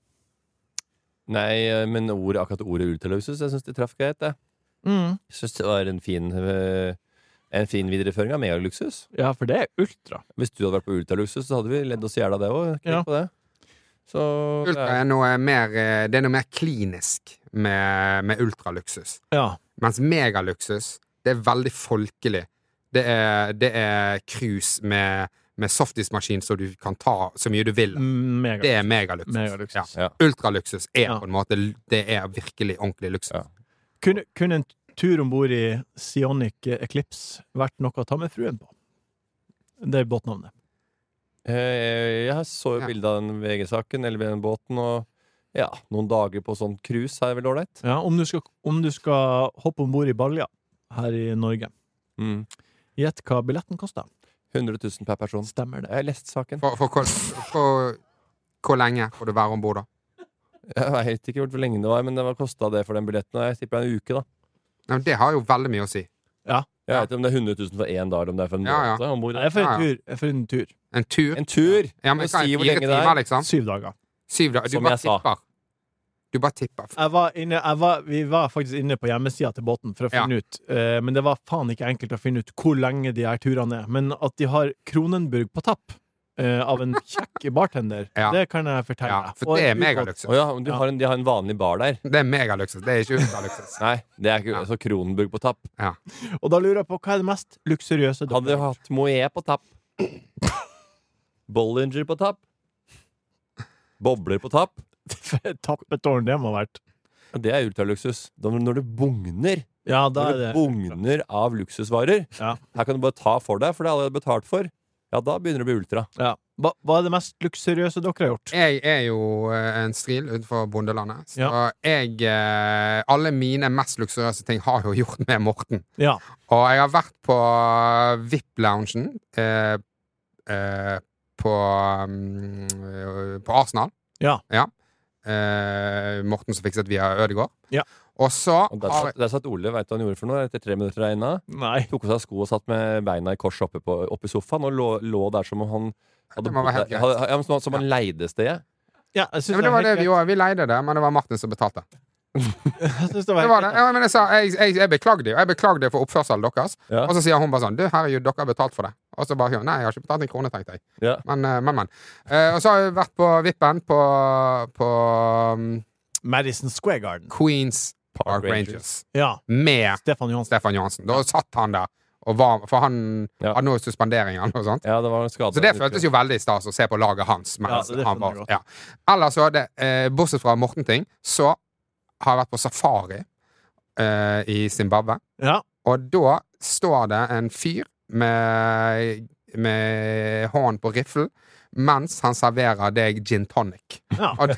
Nei, eh, men ordet, akkurat ordet ultraluksus, jeg syns de traff greit, det. Jeg syns det var en fin, eh, en fin videreføring av megaluksus. Ja, for det er ultra. Hvis du hadde vært på ultraluksus, så hadde vi ledd oss i hjel av det òg. Ja. Så Ultra er noe mer, eh, det er noe mer klinisk med, med ultraluksus. Ja. Mens megaluksus, det er veldig folkelig. Det er, det er cruise med, med softismaskin så du kan ta så mye du vil. Mega. eh, Det er megaluksus. Megaluksus. Ja. Ja. Ultraluksus er Ja. på en måte Det er virkelig ordentlig luksus. Ja. Kunne, kunne en tur om bord i Sionic Eclipse vært noe å ta med fruen på? Det er båtnavnet. Eh, Jeg så jo Ja. bilde av den VG-saken, eller den båten, og ja, noen dager på sånn cruise er vel ålreit. Ja, om du skal, om du skal hoppe om bord i Balja her i Norge, Mm. gjett hva billetten koster. 100 000 per person. Stemmer det? Jeg har lest saken. For, for, hvor- for hvor lenge får du være om bord, da? Jeg veit ikke hvor lenge det var, men det var kosta det for den billetten. og Jeg tipper en uke, da. Nei, men det har jo veldig mye å si. Jeg vet ikke om det er 100 000 for én dag, eller om det er for en Ja, ja. måned. om bord. Nei, for Ja, ja. en tur. For en tur. En tur. En tur! Ja, men Må si hva, hvor fire lenge det timer, er. liksom? Syv dager. Syv dager. Du Som bare jeg sa. tipper. Du bare tipper. Jeg var inne, jeg var, vi var faktisk inne på hjemmesida til båten for å Ja. finne ut, eh, men det var faen ikke enkelt å finne ut hvor lenge de her turene er. Men at de har Kronenburg på tapp eh, av en kjekk bartender, Ja. det kan jeg fortelle. Ja, for Og det er en ubåt- megaluksus. Å ja, men du har en, de har en vanlig bar der. Det er megaluksus. Det er ikke ultraluksus. Nei, det er ikke Ja. så Kronenburg på tapp. Og da lurer jeg på hva er det mest luksuriøse dere Hadde dere hatt Moët på tapp. Bollinger på tapp. Bobler på tapp. Tappetårn, det må ha vært. Ja, Det er ultraluksus. Da- Når det bugner Ja, da Når er det det bugner av luksusvarer Ja. Her kan du bare ta for deg, for det er allerede betalt for. Ja, da begynner det å bli ultra. Ja. Hva, hva er det mest luksuriøse dere har gjort? Jeg er jo eh, en stril utenfor bondelandet, så jeg eh, Alle mine mest luksuriøse ting har jo gjort med Morten. Ja. Og jeg har vært på VIP-loungen eh, eh, på, mm, på Arsenal. Ja. Eh, Morten som fikset via Ødegaard. Ja. Og så Og der, satt, der satt Ole, veit du hva han gjorde for noe etter tre minutter der inne? Mm. Tok av seg sko og satt med beina i kors oppe, på, oppe i sofaen og lå, lå der som om han hadde Det må bodd være helt der- greit. hadde- ja, men som, som han leide stedet. Ja, Ja, men det var det vi gjorde. Vi leide det, men det var Martin som betalte. det var det var det. Ja, men jeg, sa, jeg, jeg, jeg beklagde jo. Jeg beklagde for oppførselen deres. Og så sier hun bare sånn Du, herregud, dere har betalt for det. Og så bare sier hun Nei, jeg har ikke betalt en krone, tenkte jeg. Ja. Men, eh, men, men. Eh, og så har jeg vært på Vippen på, på mm, Madison Square Garden. Queens Park Rangers. Rangers. Ja. Med Stefan Johansen. Da satt han der. Og var, for han hadde noe suspendering eller noe sånt. så det føltes jo veldig stas å se på laget hans. Mens Ja, det han skjønner var, jeg godt. ja. Ellers så er det, eh, bortsett fra Morten-ting, så har jeg vært på safari eh, i Zimbabwe. Og da står det en fyr med, med hånden på riffel mens han serverer deg gin tonic. Og,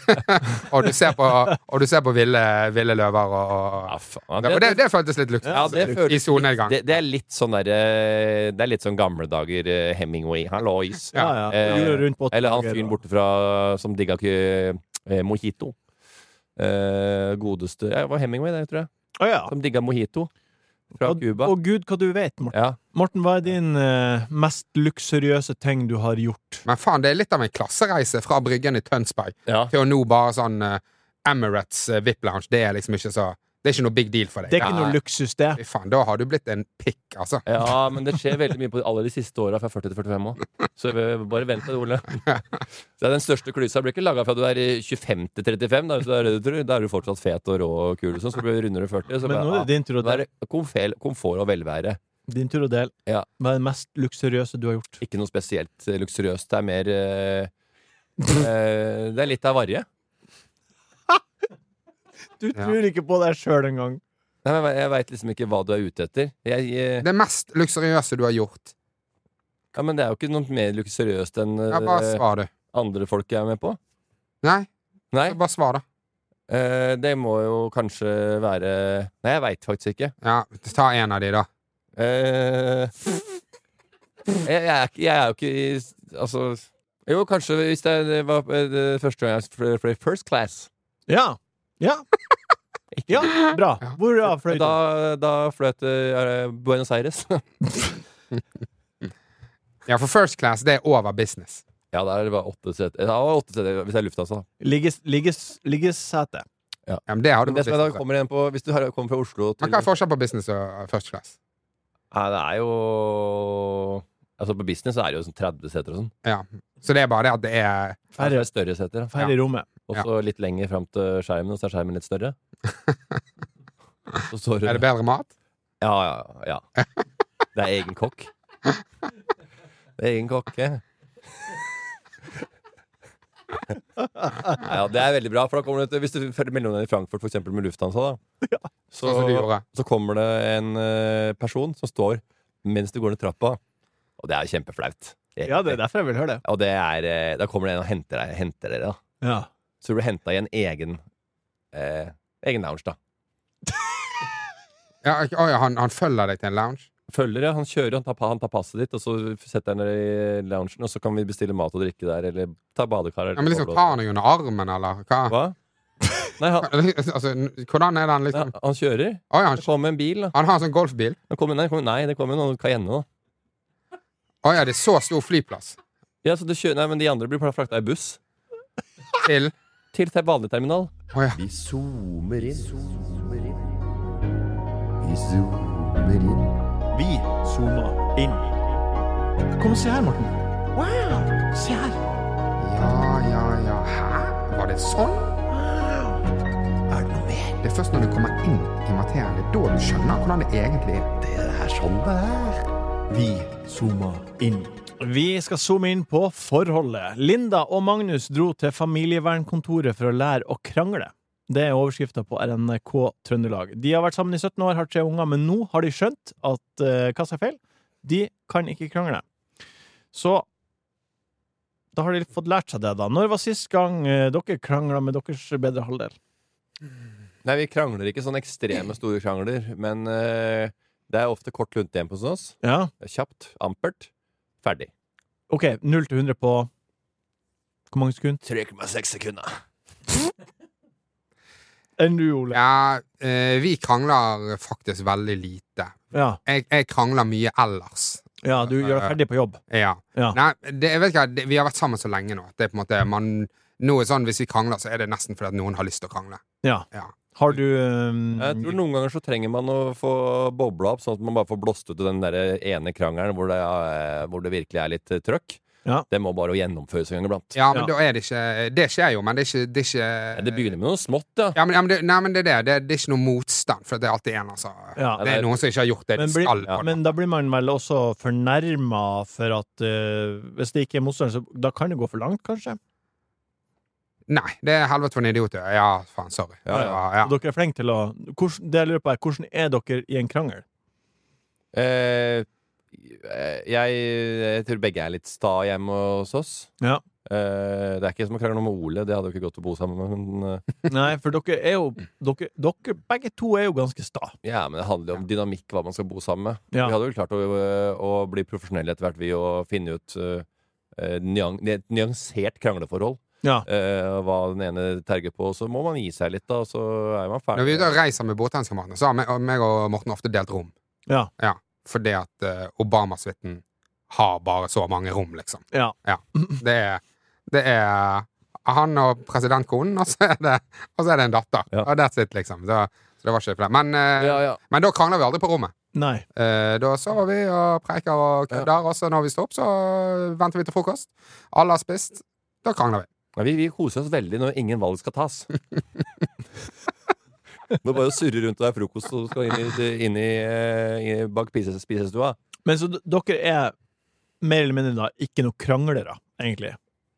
og du ser på, og du ser på ville, ville løver og, og det, og det, det føltes litt lukt Ja, det i føles solnedgang. Det, det er litt sånn der, eh, Det er litt sånn gamle dager eh, Hemingway. Hallois. Ja, ja. Eh, Jorda rundt på åtte eller han dager, fyren da. borte fra som digga ikke eh, mojito. Eh, godeste ja, Det var Hemingway, det, tror jeg. Som digga mojito. Fra Cuba. Og gud, hva du vet, Morten. Morten, hva er din eh, mest luksuriøse ting du har gjort? Men faen, det er litt av en klassereise fra Bryggen i Tønsberg til å nå bare sånn eh, Emirates eh, VIP Lounge. Det er liksom ikke så Det er ikke noe big deal for deg. Det er ikke noe luksus, det. Fy faen, da har du blitt en pikk, altså. Ja, men det skjer veldig mye på alle de siste åra fra 40 til 45 år. Så vi- bare vent til det, Ole. Så den største klysa blir ikke laga fra du er i 25 til 35. Da, hvis du er det du tror. da er du fortsatt fet og rå og kul, og sånn, så blir du rundere 40. Så Men nå er det din tur å være komfel, komfort og velvære. Din tur å dele. Ja. Hva er det mest luksuriøse du har gjort? Ikke noe spesielt eh, luksuriøst. Det er mer eh, eh, Det er litt av varje. Du tror ikke på deg sjøl engang. Nei, men Jeg veit liksom ikke hva du er ute etter. Jeg, eh, Det mest luksuriøse du har gjort. ja, men det er jo ikke noe mer luksuriøst enn eh, Ja, bare svar, du. andre folk jeg er med på. Nei. Nei. Bare svar, da. Eh, det må jo kanskje være Nei, jeg veit faktisk ikke. Ja, ta en av de, da. Eh, jeg, jeg, er, ikke- jeg er jo ikke i Altså Jo, kanskje hvis det, er- det var eh, det første gang jeg fløy- fløy first class. Ja. Ja. ja. Bra. Hvor da fløy du? Da, da fløy jeg til eh, Buenos Aires. Ja, for first class, det er over business. ja, der var åtte seter. Ja, det var åtte seter hvis det er lufthavn, da. Ligges- ligges- Liggesete. Ja. men det har du Men det på som er da business, da. kommer igjen på Hvis du har- kommer fra Oslo til Men hva er forskjellen på business og first class? Nei, det er jo Altså, på business så er det jo sånn 30 seter og sånn. Ja. Så det er bare det at det er Her er det større seter. da. Færre i rommet. Og så litt lenger fram til skjermen, og så er skjermen litt større. Så står Er det bedre mat? Ja, ja, ja. Det er egen kokk. Det er egen kokke. Ja, det er veldig bra. For da kommer det, til- hvis du følger mellomlandet i Frankfurt for eksempel, med Lufthansa, da, så, sånn som du gjorde. så kommer det en eh, person som står mens du går ned trappa, og det er jo kjempeflaut. Ja, det er derfor jeg vil høre det. Og det er, eh, da kommer det en og henter, deg, henter dere, da. Ja. Så blir du henta i en egen, eh, egen lounge, da. Ja, ok, oi, han, han følger deg til en lounge? Følger, ja. Han kjører, han tar, pa- han tar passet ditt, og så setter han deg i loungen, og så kan vi bestille mat og drikke der, eller ta badekar. Eller Ja, men liksom bobler. Tar han deg under armen, eller hva? Nei, han, altså, n- hvordan er den, liksom? Nei, han kjører. Oi, han, Det kom en bil, da. han har en sånn golfbil? Det kom, nei, det kom, nei, det kom en Cayenne, da. Å ja, det er så stor flyplass. Ja, så det kjører, nei, men de andre blir frakta i buss. Til? Til te- vanlig terminal. Vi zoomer inn. Vi zoomer inn. Vi zoomer inn. Kom og se her, Morten. Wow! Se her. Ja, ja, ja. Hæ? Var det sånn? Er det noe mer? Det er først når du kommer inn i materien, det er da du skjønner hvordan det egentlig er. Det er sånn det er. Vi zoomer inn. Vi skal zoome inn på forholdet. Linda og Magnus dro til familievernkontoret for å lære å krangle. Det er overskrifta på RNK Trøndelag. De har vært sammen i 17 år, har tre unger, men nå har de skjønt at eh, hva som er feil. De kan ikke krangle. Så Da har de fått lært seg det, da. Når var sist gang eh, dere krangla med deres bedre halvdel? Nei, vi krangler ikke sånn ekstreme store krangler, men eh, det er ofte kort lunte igjen hos oss. Ja. Det er Kjapt, ampert, ferdig. OK, 0 til 100 på Hvor mange sekunder? 3,6 sekunder. Enn du, Ole? Ja, eh, vi krangler faktisk veldig lite. Ja. Jeg, jeg krangler mye ellers. Ja, du gjør deg ferdig på jobb. Ja. Ja. Nei, det, jeg vet ikke, det, vi har vært sammen så lenge nå at det er på en måte man, nå er sånn, Hvis vi krangler, så er det nesten fordi at noen har lyst til å krangle. Ja. Har du ehm, Jeg tror Noen ganger så trenger man å få bobla opp, sånn at man bare får blåst ut den der ene krangelen hvor det, er, hvor det virkelig er litt eh, trøkk. Ja. Det må bare gjennomføres en gang iblant. Eh, Ja, men da er det ikke Det skjer jo, men det er ikke Det, er ikke, det begynner med noe smått, da. Ja, men, ja, men det, nei, men det er det. Det, det er ikke noe motstand, for det er alltid en, altså. Ja. Det er noen som ikke har gjort det de men, blir- skal. men da blir man vel også fornærma for at eh, Hvis det ikke er motstander, så da kan det gå for langt, kanskje? Nei, det er helvete for en idiot. ja. Ja, faen, sorry. Det var- ja. Og dere er flinke til å hvordan, Det jeg lurer på, er hvordan er dere i en krangel? Eh, jeg, jeg tror begge er litt sta hjemme hos oss. Ja. Eh, det er ikke som å krangle om Ole, det hadde jo ikke gått å bo sammen med. Men, eh, Nei, for dere er jo dere, dere begge to er jo ganske sta. ja, men det handler jo om dynamikk, hva man skal bo sammen med. Ja. Vi hadde jo klart å, å bli profesjonelle etter hvert, vi, og finne ut eh, eh, nyan, et nyansert krangleforhold. Ja. Eh, hva den ene terger på, så må man gi seg litt, da, og så er man Når vi ferdig. er ute og reiser med båthanskameratene, så har meg, meg og Morten ofte delt rom. Ja. Ja, fordi at eh, Obama-suiten har bare så mange rom, liksom. Ja. Ja. Det er, det er han og presidentkonen, og så er det, og så er det en datter. Og that's it, liksom. Så, så det var ikke flere. Men, eh, men da krangler vi aldri på rommet. Nei. Eh, da sover vi og preker og kødder, og så når vi står opp, så venter vi til frokost. Alle har spist. Da krangler vi. Nei, vi, vi koser oss veldig når ingen valg skal tas. Nå bare å surre rundt og det er frokost, og du skal inn i, inn i, eh, i bak pise- spisestua. Men så d- dere er mer eller mindre da ikke noe kranglere, egentlig?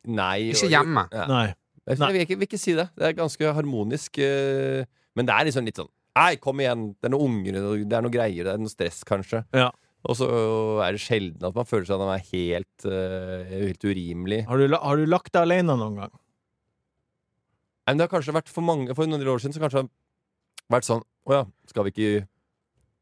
Nei. Ikke og- hjemme. Ja. Nei. Jeg, Nei. jeg vil, ikke, vil ikke si det. Det er ganske harmonisk. eh, Men det er liksom litt sånn Nei, kom igjen! Det er noen unger, og det er noe greier, det er noe stress, kanskje. Ja. Og så er det sjelden at man føler seg at man er helt, eh, helt urimelig. Har du, la- har du lagt deg alene noen gang? Nei, men det har kanskje vært for mange For noen år siden så kanskje det har vært sånn Å ja, skal vi ikke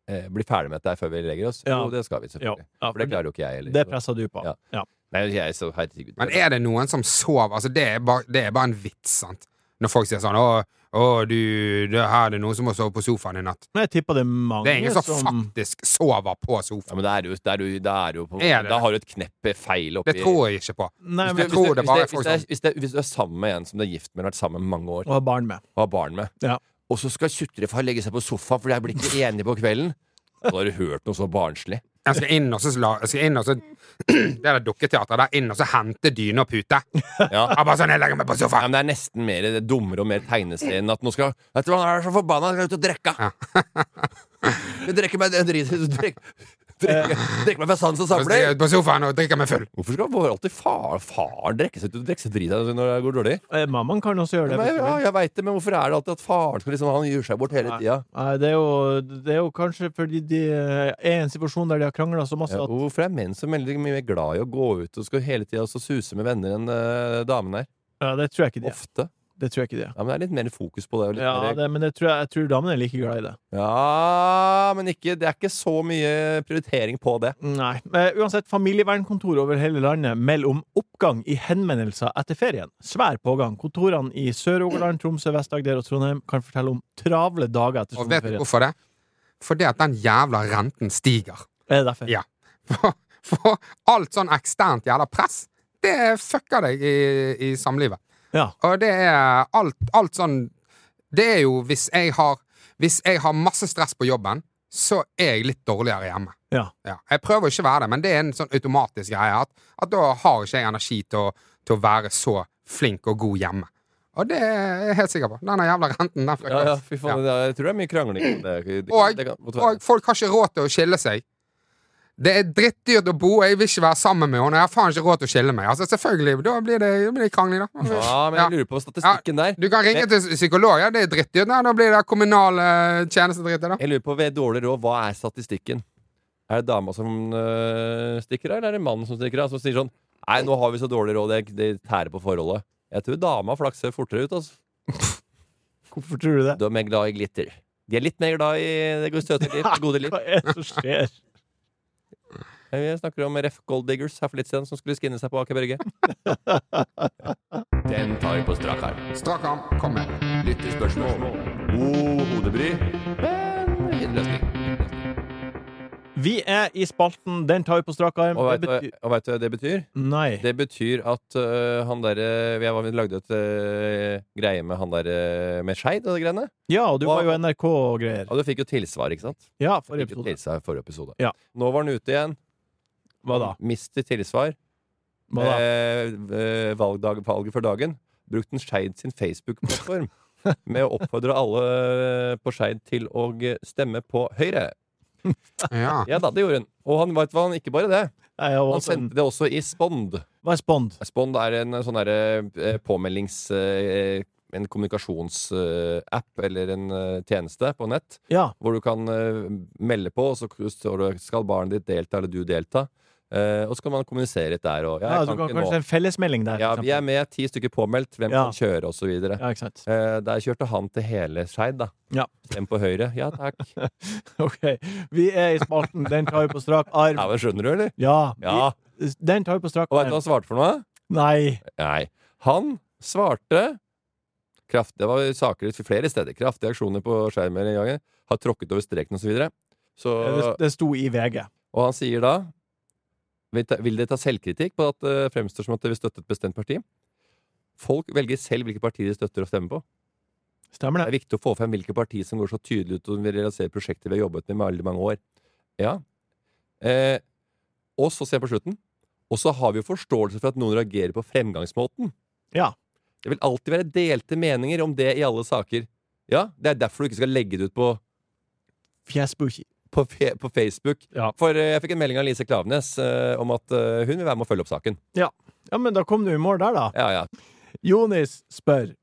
eh, bli ferdig med dette her før vi legger oss? Ja. Jo, det skal vi selvfølgelig. Ja, for det klarer jo ikke jeg heller. Det pressa du på. Ja. Ja. Nei, jeg så herregud. Men er det noen som sover? Altså, det er bare, det er bare en vits, sant? Når folk sier sånn 'Å, å du, det her er det noen som må sove på sofaen i natt'. Men jeg tipper det er mange Det er ingen som, som faktisk sover på Ja, sofaen. men det er jo, det er jo, det er jo på, Er det Da det? har du et kneppe feil oppi Det tror jeg ikke på. Nei, Hvis men du- Jeg tror hvis du- det bare er hvis folk det er- hvis, det, hvis du er sammen med en som du er gift med, og har vært sammen med mange år, å ha barn med. og har barn med, Ja. og så skal tjutrefar legge seg på sofaen fordi jeg blir ikke enig på kvelden, da har du hørt noe så barnslig. Jeg skal inn og så, la- jeg skal inn og så Det er det dukketeatret der inn og så hente dyne og pute. Ja. Jeg bare sånn, jeg legger meg på Ja, men sofaen. det er nesten mer det er dummere og mer tegneserie enn at nå skal Vet du hva, han er så forbanna, han skal ut og drikke! Jeg drikker meg jeg driter- drikk- drikk- drikker meg fra sans og Så stiger jeg samling! ut på sofaen og drikker meg full. Hvorfor skal vår alltid far, far drikke seg ut og drikke seg drit av seg når det går dårlig? Eh, Mammaen kan også gjøre det. Men, hvis du ja, vil. jeg vet det, men hvorfor er det alltid at faren skal liksom, han gjør seg bort hele tida? Nei, Eh, det er, jo, det er jo kanskje fordi de eh, er i en situasjon der de har krangla så masse Ja, at og hvorfor er menn så veldig mye mer glad i å gå ut og skal hele tida suse med venner enn eh, damene er? ja, Det tror jeg ikke de er. Ofte. Det tror jeg ikke de er. Ja, men det er litt mer fokus på det. og Litt Ja, mer, det, men det tror jeg, jeg tror damene er like glad i det. ja men ikke, det er ikke så mye prioritering på det. Nei. Men uansett, familievernkontor over hele landet melder om oppgang i henvendelser etter ferien. Svær pågang. Kontorene i Sør-Rogaland, Tromsø, Vest-Agder og Trondheim kan fortelle om travle dager etter Og vet du sommerferien. hvorfor det? Fordi at den jævla renten stiger. Er det derfor? Ja. For, for alt sånn eksternt jævla press, det fucker deg i, i samlivet. Ja. Og det er alt, alt sånn Det er jo hvis jeg har Hvis jeg har masse stress på jobben, så er jeg litt dårligere hjemme. Ja. Ja. Jeg prøver å ikke være det, men det er en sånn automatisk greie at, at da har ikke jeg energi til å, til å være så flink og god hjemme. Og det er jeg helt sikker på. Denne jævla renten, den Ja, fucker ja, oss. fy faen, det er- Jeg tror det er mye krangling. om Det, det, det, Og, det kan godt være. og folk har ikke råd til å skille seg. Det er drittdyrt å bo, og jeg vil ikke være sammen med henne. Jeg har faen ikke råd til å skille meg. Altså, selvfølgelig, Da blir det, da blir det krangling, da. Ja, men Ja. jeg lurer på statistikken der. Du kan ringe til psykolog, ja. Det er drittdyrt. Nei, da blir det kommunal eh, tjenestedritt. Da. Jeg lurer på ved dårlig råd, hva eh, er statistikken? Er det dama som øh, stikker av, eller er det mannen som stikker av? Som sier sånn Nei, nå har vi så dårlig råd, det, det tærer på forholdet. Jeg tror dama flakser fortere ut, altså. Hvorfor tror du det? De er glad i glitter. De er litt mer glad i det gode støte liv, det gode liv. Hva er det som skjer? Jeg snakker om Ref Gold Diggers her for litt siden, som skulle skinne seg på Aker Brygge. Den tar vi på strak arm. Strak arm, kom med. Lytterspørsmål. God hodebry, men liten løsning. Vi er i spalten Den tar vi på strak arm. Og Det veit du hva- betyr- og vet du hva det betyr? Nei. Det betyr at øh, han derre Vi var- vi lagde et øh, greie med han derre med Skeid og de greiene. Ja, og du var Hva- jo NRK og greier. Og du fikk jo tilsvar, ikke sant? Ja, forrige Fikk jo episode. tilsvar i forrige episode. Ja. Nå var han ute igjen. Hva da? Mistet tilsvar. Hva da? Eh, eh, valgdag, valget for dagen. Brukte en Skeid sin Facebook-plattform med å oppfordre alle eh, på Skeid til å eh, stemme på Høyre. Ja. Ja da, det gjorde hun. Og han vet hva han ikke bare det. og han også en- sendte det også i Spond. Hva er Spond? Spond er en sånn derre eh, påmeldings... eh, En kommunikasjonsapp eller en eh, tjeneste på nett Ja. hvor du kan eh, melde på, og så står det 'Skal barnet ditt delta, eller du delta?' Eh, og så kan man kommunisere litt der. Og, Ja, jeg du kan ikke nå. kanskje en fellesmelding der. Ja, for vi er med, ti stykker påmeldt, hvem Ja. kan kjøre, osv. Ja, ikke sant. Eh, der kjørte han til hele Skeid, da. Ja. Stem på høyre. Ja takk. Ok, vi er i spalten Den tar vi på strak arm. Ja, men Skjønner du, eller? Ja. Ja. Vi, den tar vi på strak Og vet du hva arm. han svarte for noe? Nei. Nei. Han svarte kraft, Det var saker for flere steder. Kraftige aksjoner på skjermen i gangen. Har tråkket over streken, osv. Så, videre. så Det, det sto i VG. Og han sier da "Vil ta- Vil dere ta selvkritikk på at det fremstår som at dere vil støtte et bestemt parti? Folk velger selv hvilke parti de støtter og stemmer på. Stemmer Det det? er viktig å få frem hvilke parti som går så tydelig ut og vil realisere prosjekter vi har jobbet med i veldig mange år. Ja. Eh, og så ser jeg på slutten. Og så har vi jo forståelse for at noen reagerer på fremgangsmåten. Ja. Det vil alltid være delte meninger om det i alle saker. Ja, Det er derfor du ikke skal legge det ut på Fjesbuki. på, fe på Facebook. Ja. For eh, jeg fikk en melding av Lise Klaveness eh, om at eh, hun vil være med å følge opp saken. Ja. ja, men da kom du i mål der, da. Ja, ja. Jonis spør.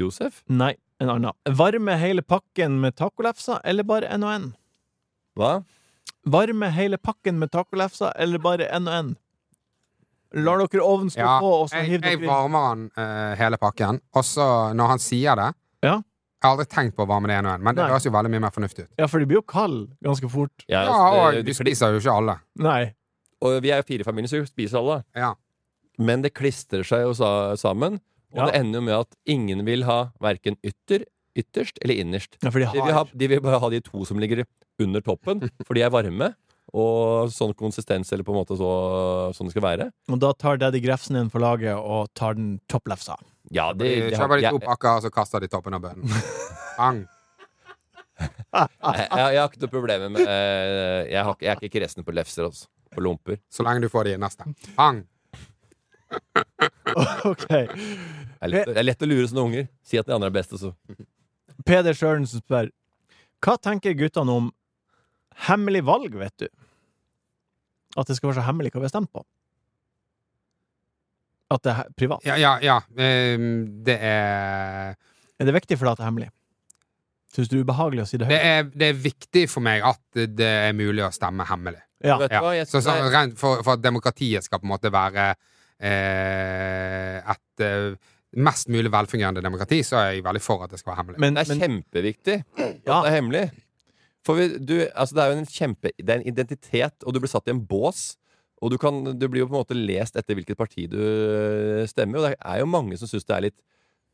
Josef? Nei, en annen. Varme hele pakken med tacolefser, eller bare en og en? Hva? Varme hele pakken med tacolefser, eller bare en og en? Lar dere ovnen stå ja. på, og så Jeg, hiver jeg dere inn? varmer han eh, hele pakken, og så, når han sier det Ja. Jeg har aldri tenkt på å varme det ene og en, men det Nei. høres jo veldig mye mer fornuftig ut. Ja, for de blir jo kalde ganske fort. Ja, Ja, altså, og det- du det kli- spiser jo ikke alle. Nei. og vi er jo fire familier, så vi spiser alle. Ja. Men det klistrer seg jo sa sammen, og Ja. det ender jo med at ingen vil ha verken ytter, ytterst eller innerst. Ja, for de De vil, ha, har de vil bare ha de to som ligger under toppen, for de er varme. Og sånn konsistens, eller på en måte så, sånn det skal være. Og da tar Daddy Grefsen inn for laget og tar den topplefsa. Ja, De det, det har- kjøper de jeg- to pakker, og så kaster de toppen av bønnen. Bang. jeg, jeg, jeg har ikke noe problem med eh, jeg, har, ikke- jeg er ikke kresen på lefser, altså. På lomper. Så lenge du får de neste. Bang. Ok. Det er lett, det er lett å lure sånne unger. Si at de andre er best, altså. og så Peder Sørensen spør Hva tenker guttene om hemmelig valg, vet du? At det skal være så hemmelig hva vi har stemt på? At det er he- privat? Ja, ja. ja. Ehm, det er Er det viktig for deg at det er hemmelig? Syns du det er ubehagelig å si det Det høyt? er, det er viktig for meg at det er mulig å stemme hemmelig. Ja. Vet du Ja. hva? Jeg, Så, så, nei, rent for, for at demokratiet skal på en måte være eh, et eh, mest mulig velfungerende demokrati, så er jeg veldig for at det skal være hemmelig. Men, det er men kjempeviktig at Ja. det er hemmelig. For vi, du, altså det er jo en kjempe Det er en identitet, og du blir satt i en bås. Og du, kan, du blir jo på en måte lest etter hvilket parti du øh, stemmer. Og det er jo mange som syns det er litt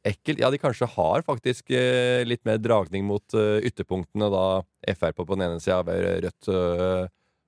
ekkelt. Ja, de kanskje har faktisk øh, litt mer dragning mot øh, ytterpunktene, da Frp på den ene sida og Rødt øh,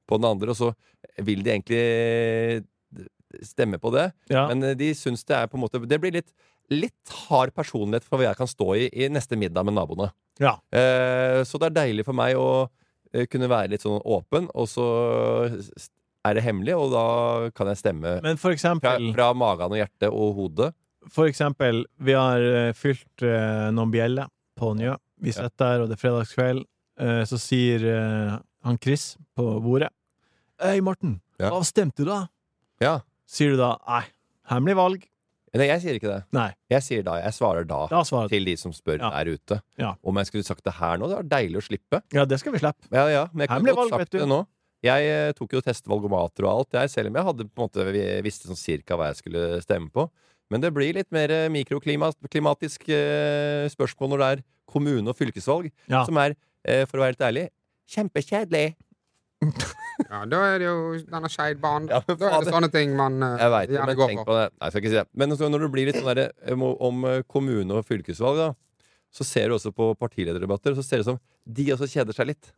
på den andre. Og så vil de egentlig øh, stemme på det. ja. Men eh, de syns det er på en måte Det blir litt, litt hard personlighet for hva jeg kan stå i i neste middag med naboene. ja. Eh, så det er deilig for meg å eh, kunne være litt sånn åpen, og så s- er det hemmelig, og da kan jeg stemme Men for fra, eksempel, fra magen og hjertet og hodet. for eksempel Vi har eh, fylt eh, noen bjeller på Njø. Vi Ja. sitter der, og det er fredagskveld. Eh, så sier eh, han Chris på bordet Hei, Morten, Ja. hva stemte du, da? Ja. Sier du da nei, hemmelig valg? Nei, jeg sier ikke det. Nei. Jeg sier da. Jeg svarer da. Da svarer du. Til de som spør Ja. der ute. Ja. Om jeg skulle sagt det her nå, det var deilig å slippe. Ja, det skal vi slippe. Ja, ja, men jeg kan Hemmelig godt valg, vet sagt du. det nå. Jeg eh, tok jo testvalgomater og alt, jeg, selv om jeg hadde på en måte vi- visste sånn cirka hva jeg skulle stemme på. Men det blir litt mer eh, mikroklimatisk eh, spørsmål når det er kommune- og fylkesvalg, Ja. som er, eh, for å være helt ærlig, kjempekjedelig. Ja, da er det jo denne skeidbanen. Ja, men da er det fader. sånne ting man eh, Jeg vet det, gjerne men går tenk for. på det. Nei, jeg skal ikke si det. Men så når det blir litt sånn der, eh, om- om eh, kommune- og fylkesvalg, da, så ser du også på partilederdebatter, så ser det ut som de også kjeder seg litt.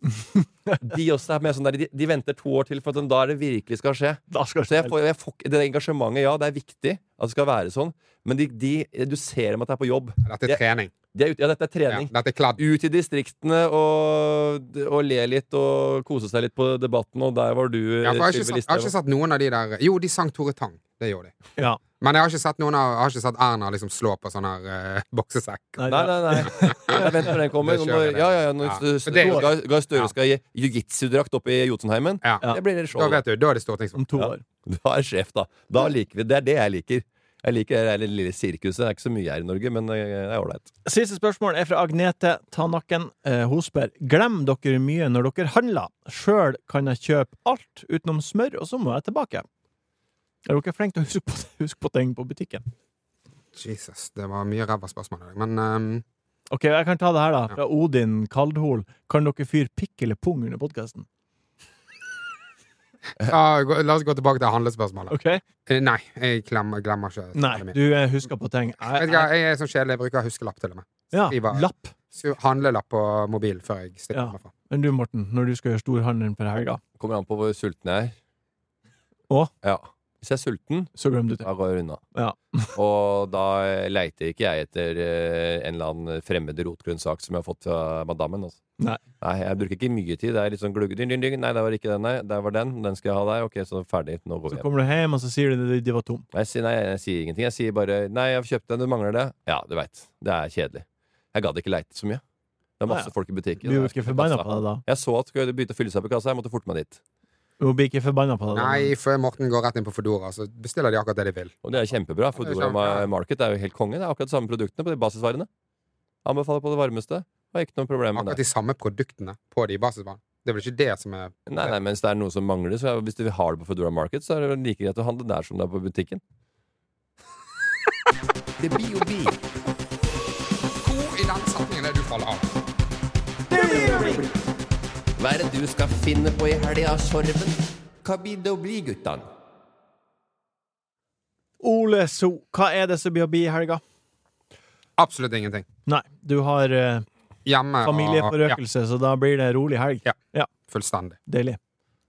De også er mer sånn der, de, de venter to år til, for at sånn, da er det virkelig skal skje. så jeg får, jeg får, ikke- det engasjementet, ja, det er viktig at det skal være sånn, men de, de, du ser dem at det er på jobb. Dette er trening. De er ute, ja, dette er trening. dette er kladd. Ut i distriktene og, og le litt og kose seg litt på debatten, og der var du, Ja, for jeg, har ikke Sylvi sett, jeg har Listhaug. ikke sett noen av de der Jo, de sang Tore Tang. Det gjorde de. Ja. Men jeg har ikke sett, noen av, jeg har ikke sett Erna liksom slå på sånn her eh, boksesekk. Nei, nei, nei. Jeg venter når den kommer. Det Når, kjører jeg. ja, ja, ja, når Ja. Stø- For det er jo- Gahr Gahr Støre skal gi jiu-jitsu-drakt opp i Jotunheimen, Ja. det blir det show. Da vet du, da er det stortingsvalg. Om to Ja. år. Da er sjef, da. Da liker vi Det er det jeg liker. Jeg liker det der lille sirkuset. Det er ikke så mye her i Norge, men eh, det er ålreit. Siste spørsmål er fra Agnete Tanakken eh, Hosberg. Glem dere mye når dere handler. Sjøl kan jeg kjøpe alt utenom smør, og så må jeg tilbake. Er dere flinke til å huske på, huske på ting på butikken? Jesus, det var mye ræva spørsmål i dag. Men ehm, Ok, jeg kan ta det her, da. Fra Odin Kaldhol. Kan dere fyre pikk eller pung under podkasten? ja, gå- la oss gå tilbake til handlespørsmålet. Ok? Eh, Nei, jeg glemmer, glemmer ikke. Nei, svaret mitt. du eh, husker på ting. Jeg, Vet du hva, jeg er så kjedelig, jeg bruker huskelapp til og med. ja, Skriver- lapp. skriver Handlelapp på mobil før jeg stikker Ja. meg fra. Men du, Morten, når du skal gjøre storhandelen på helga, Kommer an på hvor sulten jeg er. Å? Ja. Hvis jeg er sulten, så glemmer du det. da går jeg unna. Ja. Og da leiter ikke jeg etter eh, en eller annen fremmed rotgrønnsak som jeg har fått fra madammen. Altså. Nei. jeg bruker ikke mye tid. Det er litt sånn glugg... Ding, ding, ding. Nei, det var ikke den, nei. Der var den. Den skal jeg ha der. Ok, så ferdig. Nå Så går vi hjem. kommer du hjem, og så sier du det, det var tom. Nei, jeg sier- nei, jeg sier ingenting. Jeg sier bare 'Nei, jeg har kjøpt den. Du mangler det.' Ja, du veit. Det er kjedelig. Jeg gadd ikke leite så mye. Det er Nei, masse ja. folk i butikken. Blir jo Det er ikke forbanna kassa. på deg da. Jeg så at det begynte å fylle seg på kassa. Jeg måtte forte meg dit. Du blir ikke forbanna på deg da. Nei, før Morten går rett inn på Fodora, så bestiller de akkurat det de vil. Og det er kjempebra, for Ja, det er Dora kjempebra. Market er jo helt konge. Det er akkurat de samme produktene på de basisvarene. Anbefaler på det varmeste. Har ikke noe problem med Akkurat det. de samme produktene på de basisbanene. Det er vel ikke det som er Nei, nei, mens det er noe som mangler, så er- hvis du har det på Foodora Market, så er det vel like greit å handle der som det er på butikken. Det blir jo bi. Hvor i den setningen er det du faller av? Hva er det du skal finne på i helga, Sorven? Hva blir det å bli, guttan? Ole So, hva er det som blir å bli i helga? Absolutt ingenting. Nei, du har eh, Hjemme og- familieforøkelse, så da blir det rolig helg. Ah, Ja. Ja, fullstendig. Deilig.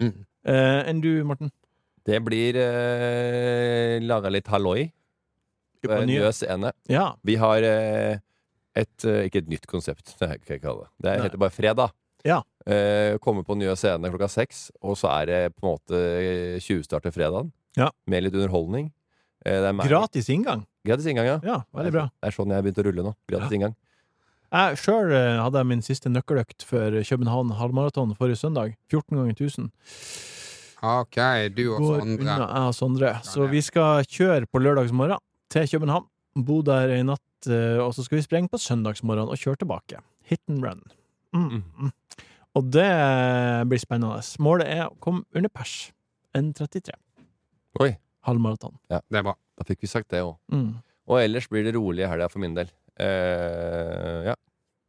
Mm. Eh, enn du, Morten? Det blir eh, laga litt halloi. På Eh, nye? Løs ende. Ja. Vi har eh, et eh, Ikke et nytt konsept, det kan jeg ikke kalle det. Det Nei. heter bare Fredag. Ja. Eh, Komme på nye scener klokka seks, og så er det på en måte eh, tjuvstart til fredagen. Ja. Med litt underholdning. Eh, det er meg- Gratis inngang. Gratis inngang, ja. Ja, veldig bra. Det er sånn jeg har begynt å rulle nå. Gratis inngang. Jeg sjøl eh, hadde jeg min siste nøkkeløkt for København halvmaraton forrige søndag. 14 ganger 1000. Ok, du og Går unna Sondre. jeg og Sondre. Så ned. vi skal kjøre på lørdagsmorgen til København. Bo der ei natt, eh, og så skal vi sprenge på søndagsmorgen og kjøre tilbake. Hit and run. Mm. Mm. Og det blir spennende. Målet er å komme under pers. 1,33. Oi, Halvmaraton. Det er bra. da fikk vi sagt det òg. Mm. Og ellers blir det rolig i helga for min del. Eh, ja,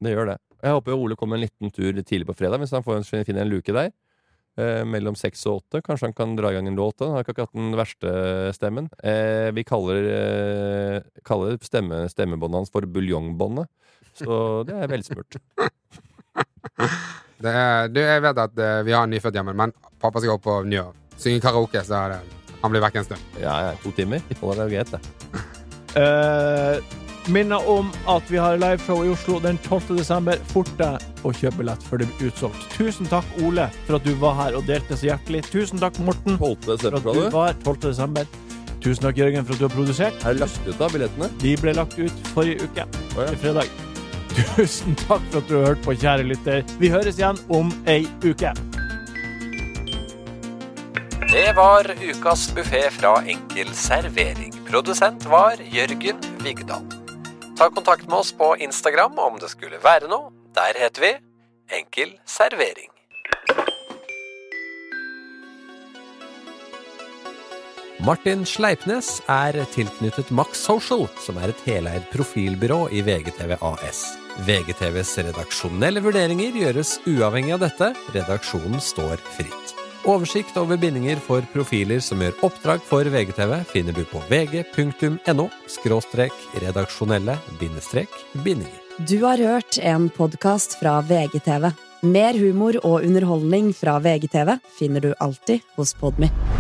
det gjør det. Jeg håper Ole kommer en liten tur tidlig på fredag, hvis han får en, finner en luke der. Eh, mellom seks og åtte. Kanskje han kan dra i gang en låt. da. Han har ikke hatt den verste stemmen. Eh, vi kaller, eh, kaller stemme, stemmebåndet hans for buljongbåndet. Så det er velspurt. Det er, du, jeg vet at eh, vi har en nyfødt hjemme, men pappa skal opp på Njø. Synge karaoke, så er det, han blir vekk en stund. Ja, ja, to timer. Og det er jo greit, det. Eh, minner om at vi har liveshow i Oslo den 12. desember. Fort deg og kjøp billett før det blir utsolgt. Tusen takk, Ole, for at du var her og delte så hjertelig. Tusen takk, Morten, Holte for at du var 12. desember. Tusen takk, Jørgen, for at du har produsert. Er det lagt ut av billettene? De ble lagt ut forrige uke, Å, ja. til fredag. Tusen takk for at du har hørt på, kjære lytter. Vi høres igjen om ei uke. Det var ukas buffé fra Enkel servering. Produsent var Jørgen Vigdal. Ta kontakt med oss på Instagram om det skulle være noe. Der heter vi Enkel servering. Martin Sleipnes er tilknyttet Max Social, som er et heleid profilbyrå i VGTV AS. VGTVs redaksjonelle vurderinger gjøres uavhengig av dette. Redaksjonen står fritt. Oversikt over bindinger for profiler som gjør oppdrag for VGTV, finner du på vg.no redaksjonelle bindinger. Du har hørt en podkast fra VGTV. Mer humor og underholdning fra VGTV finner du alltid hos Podmy.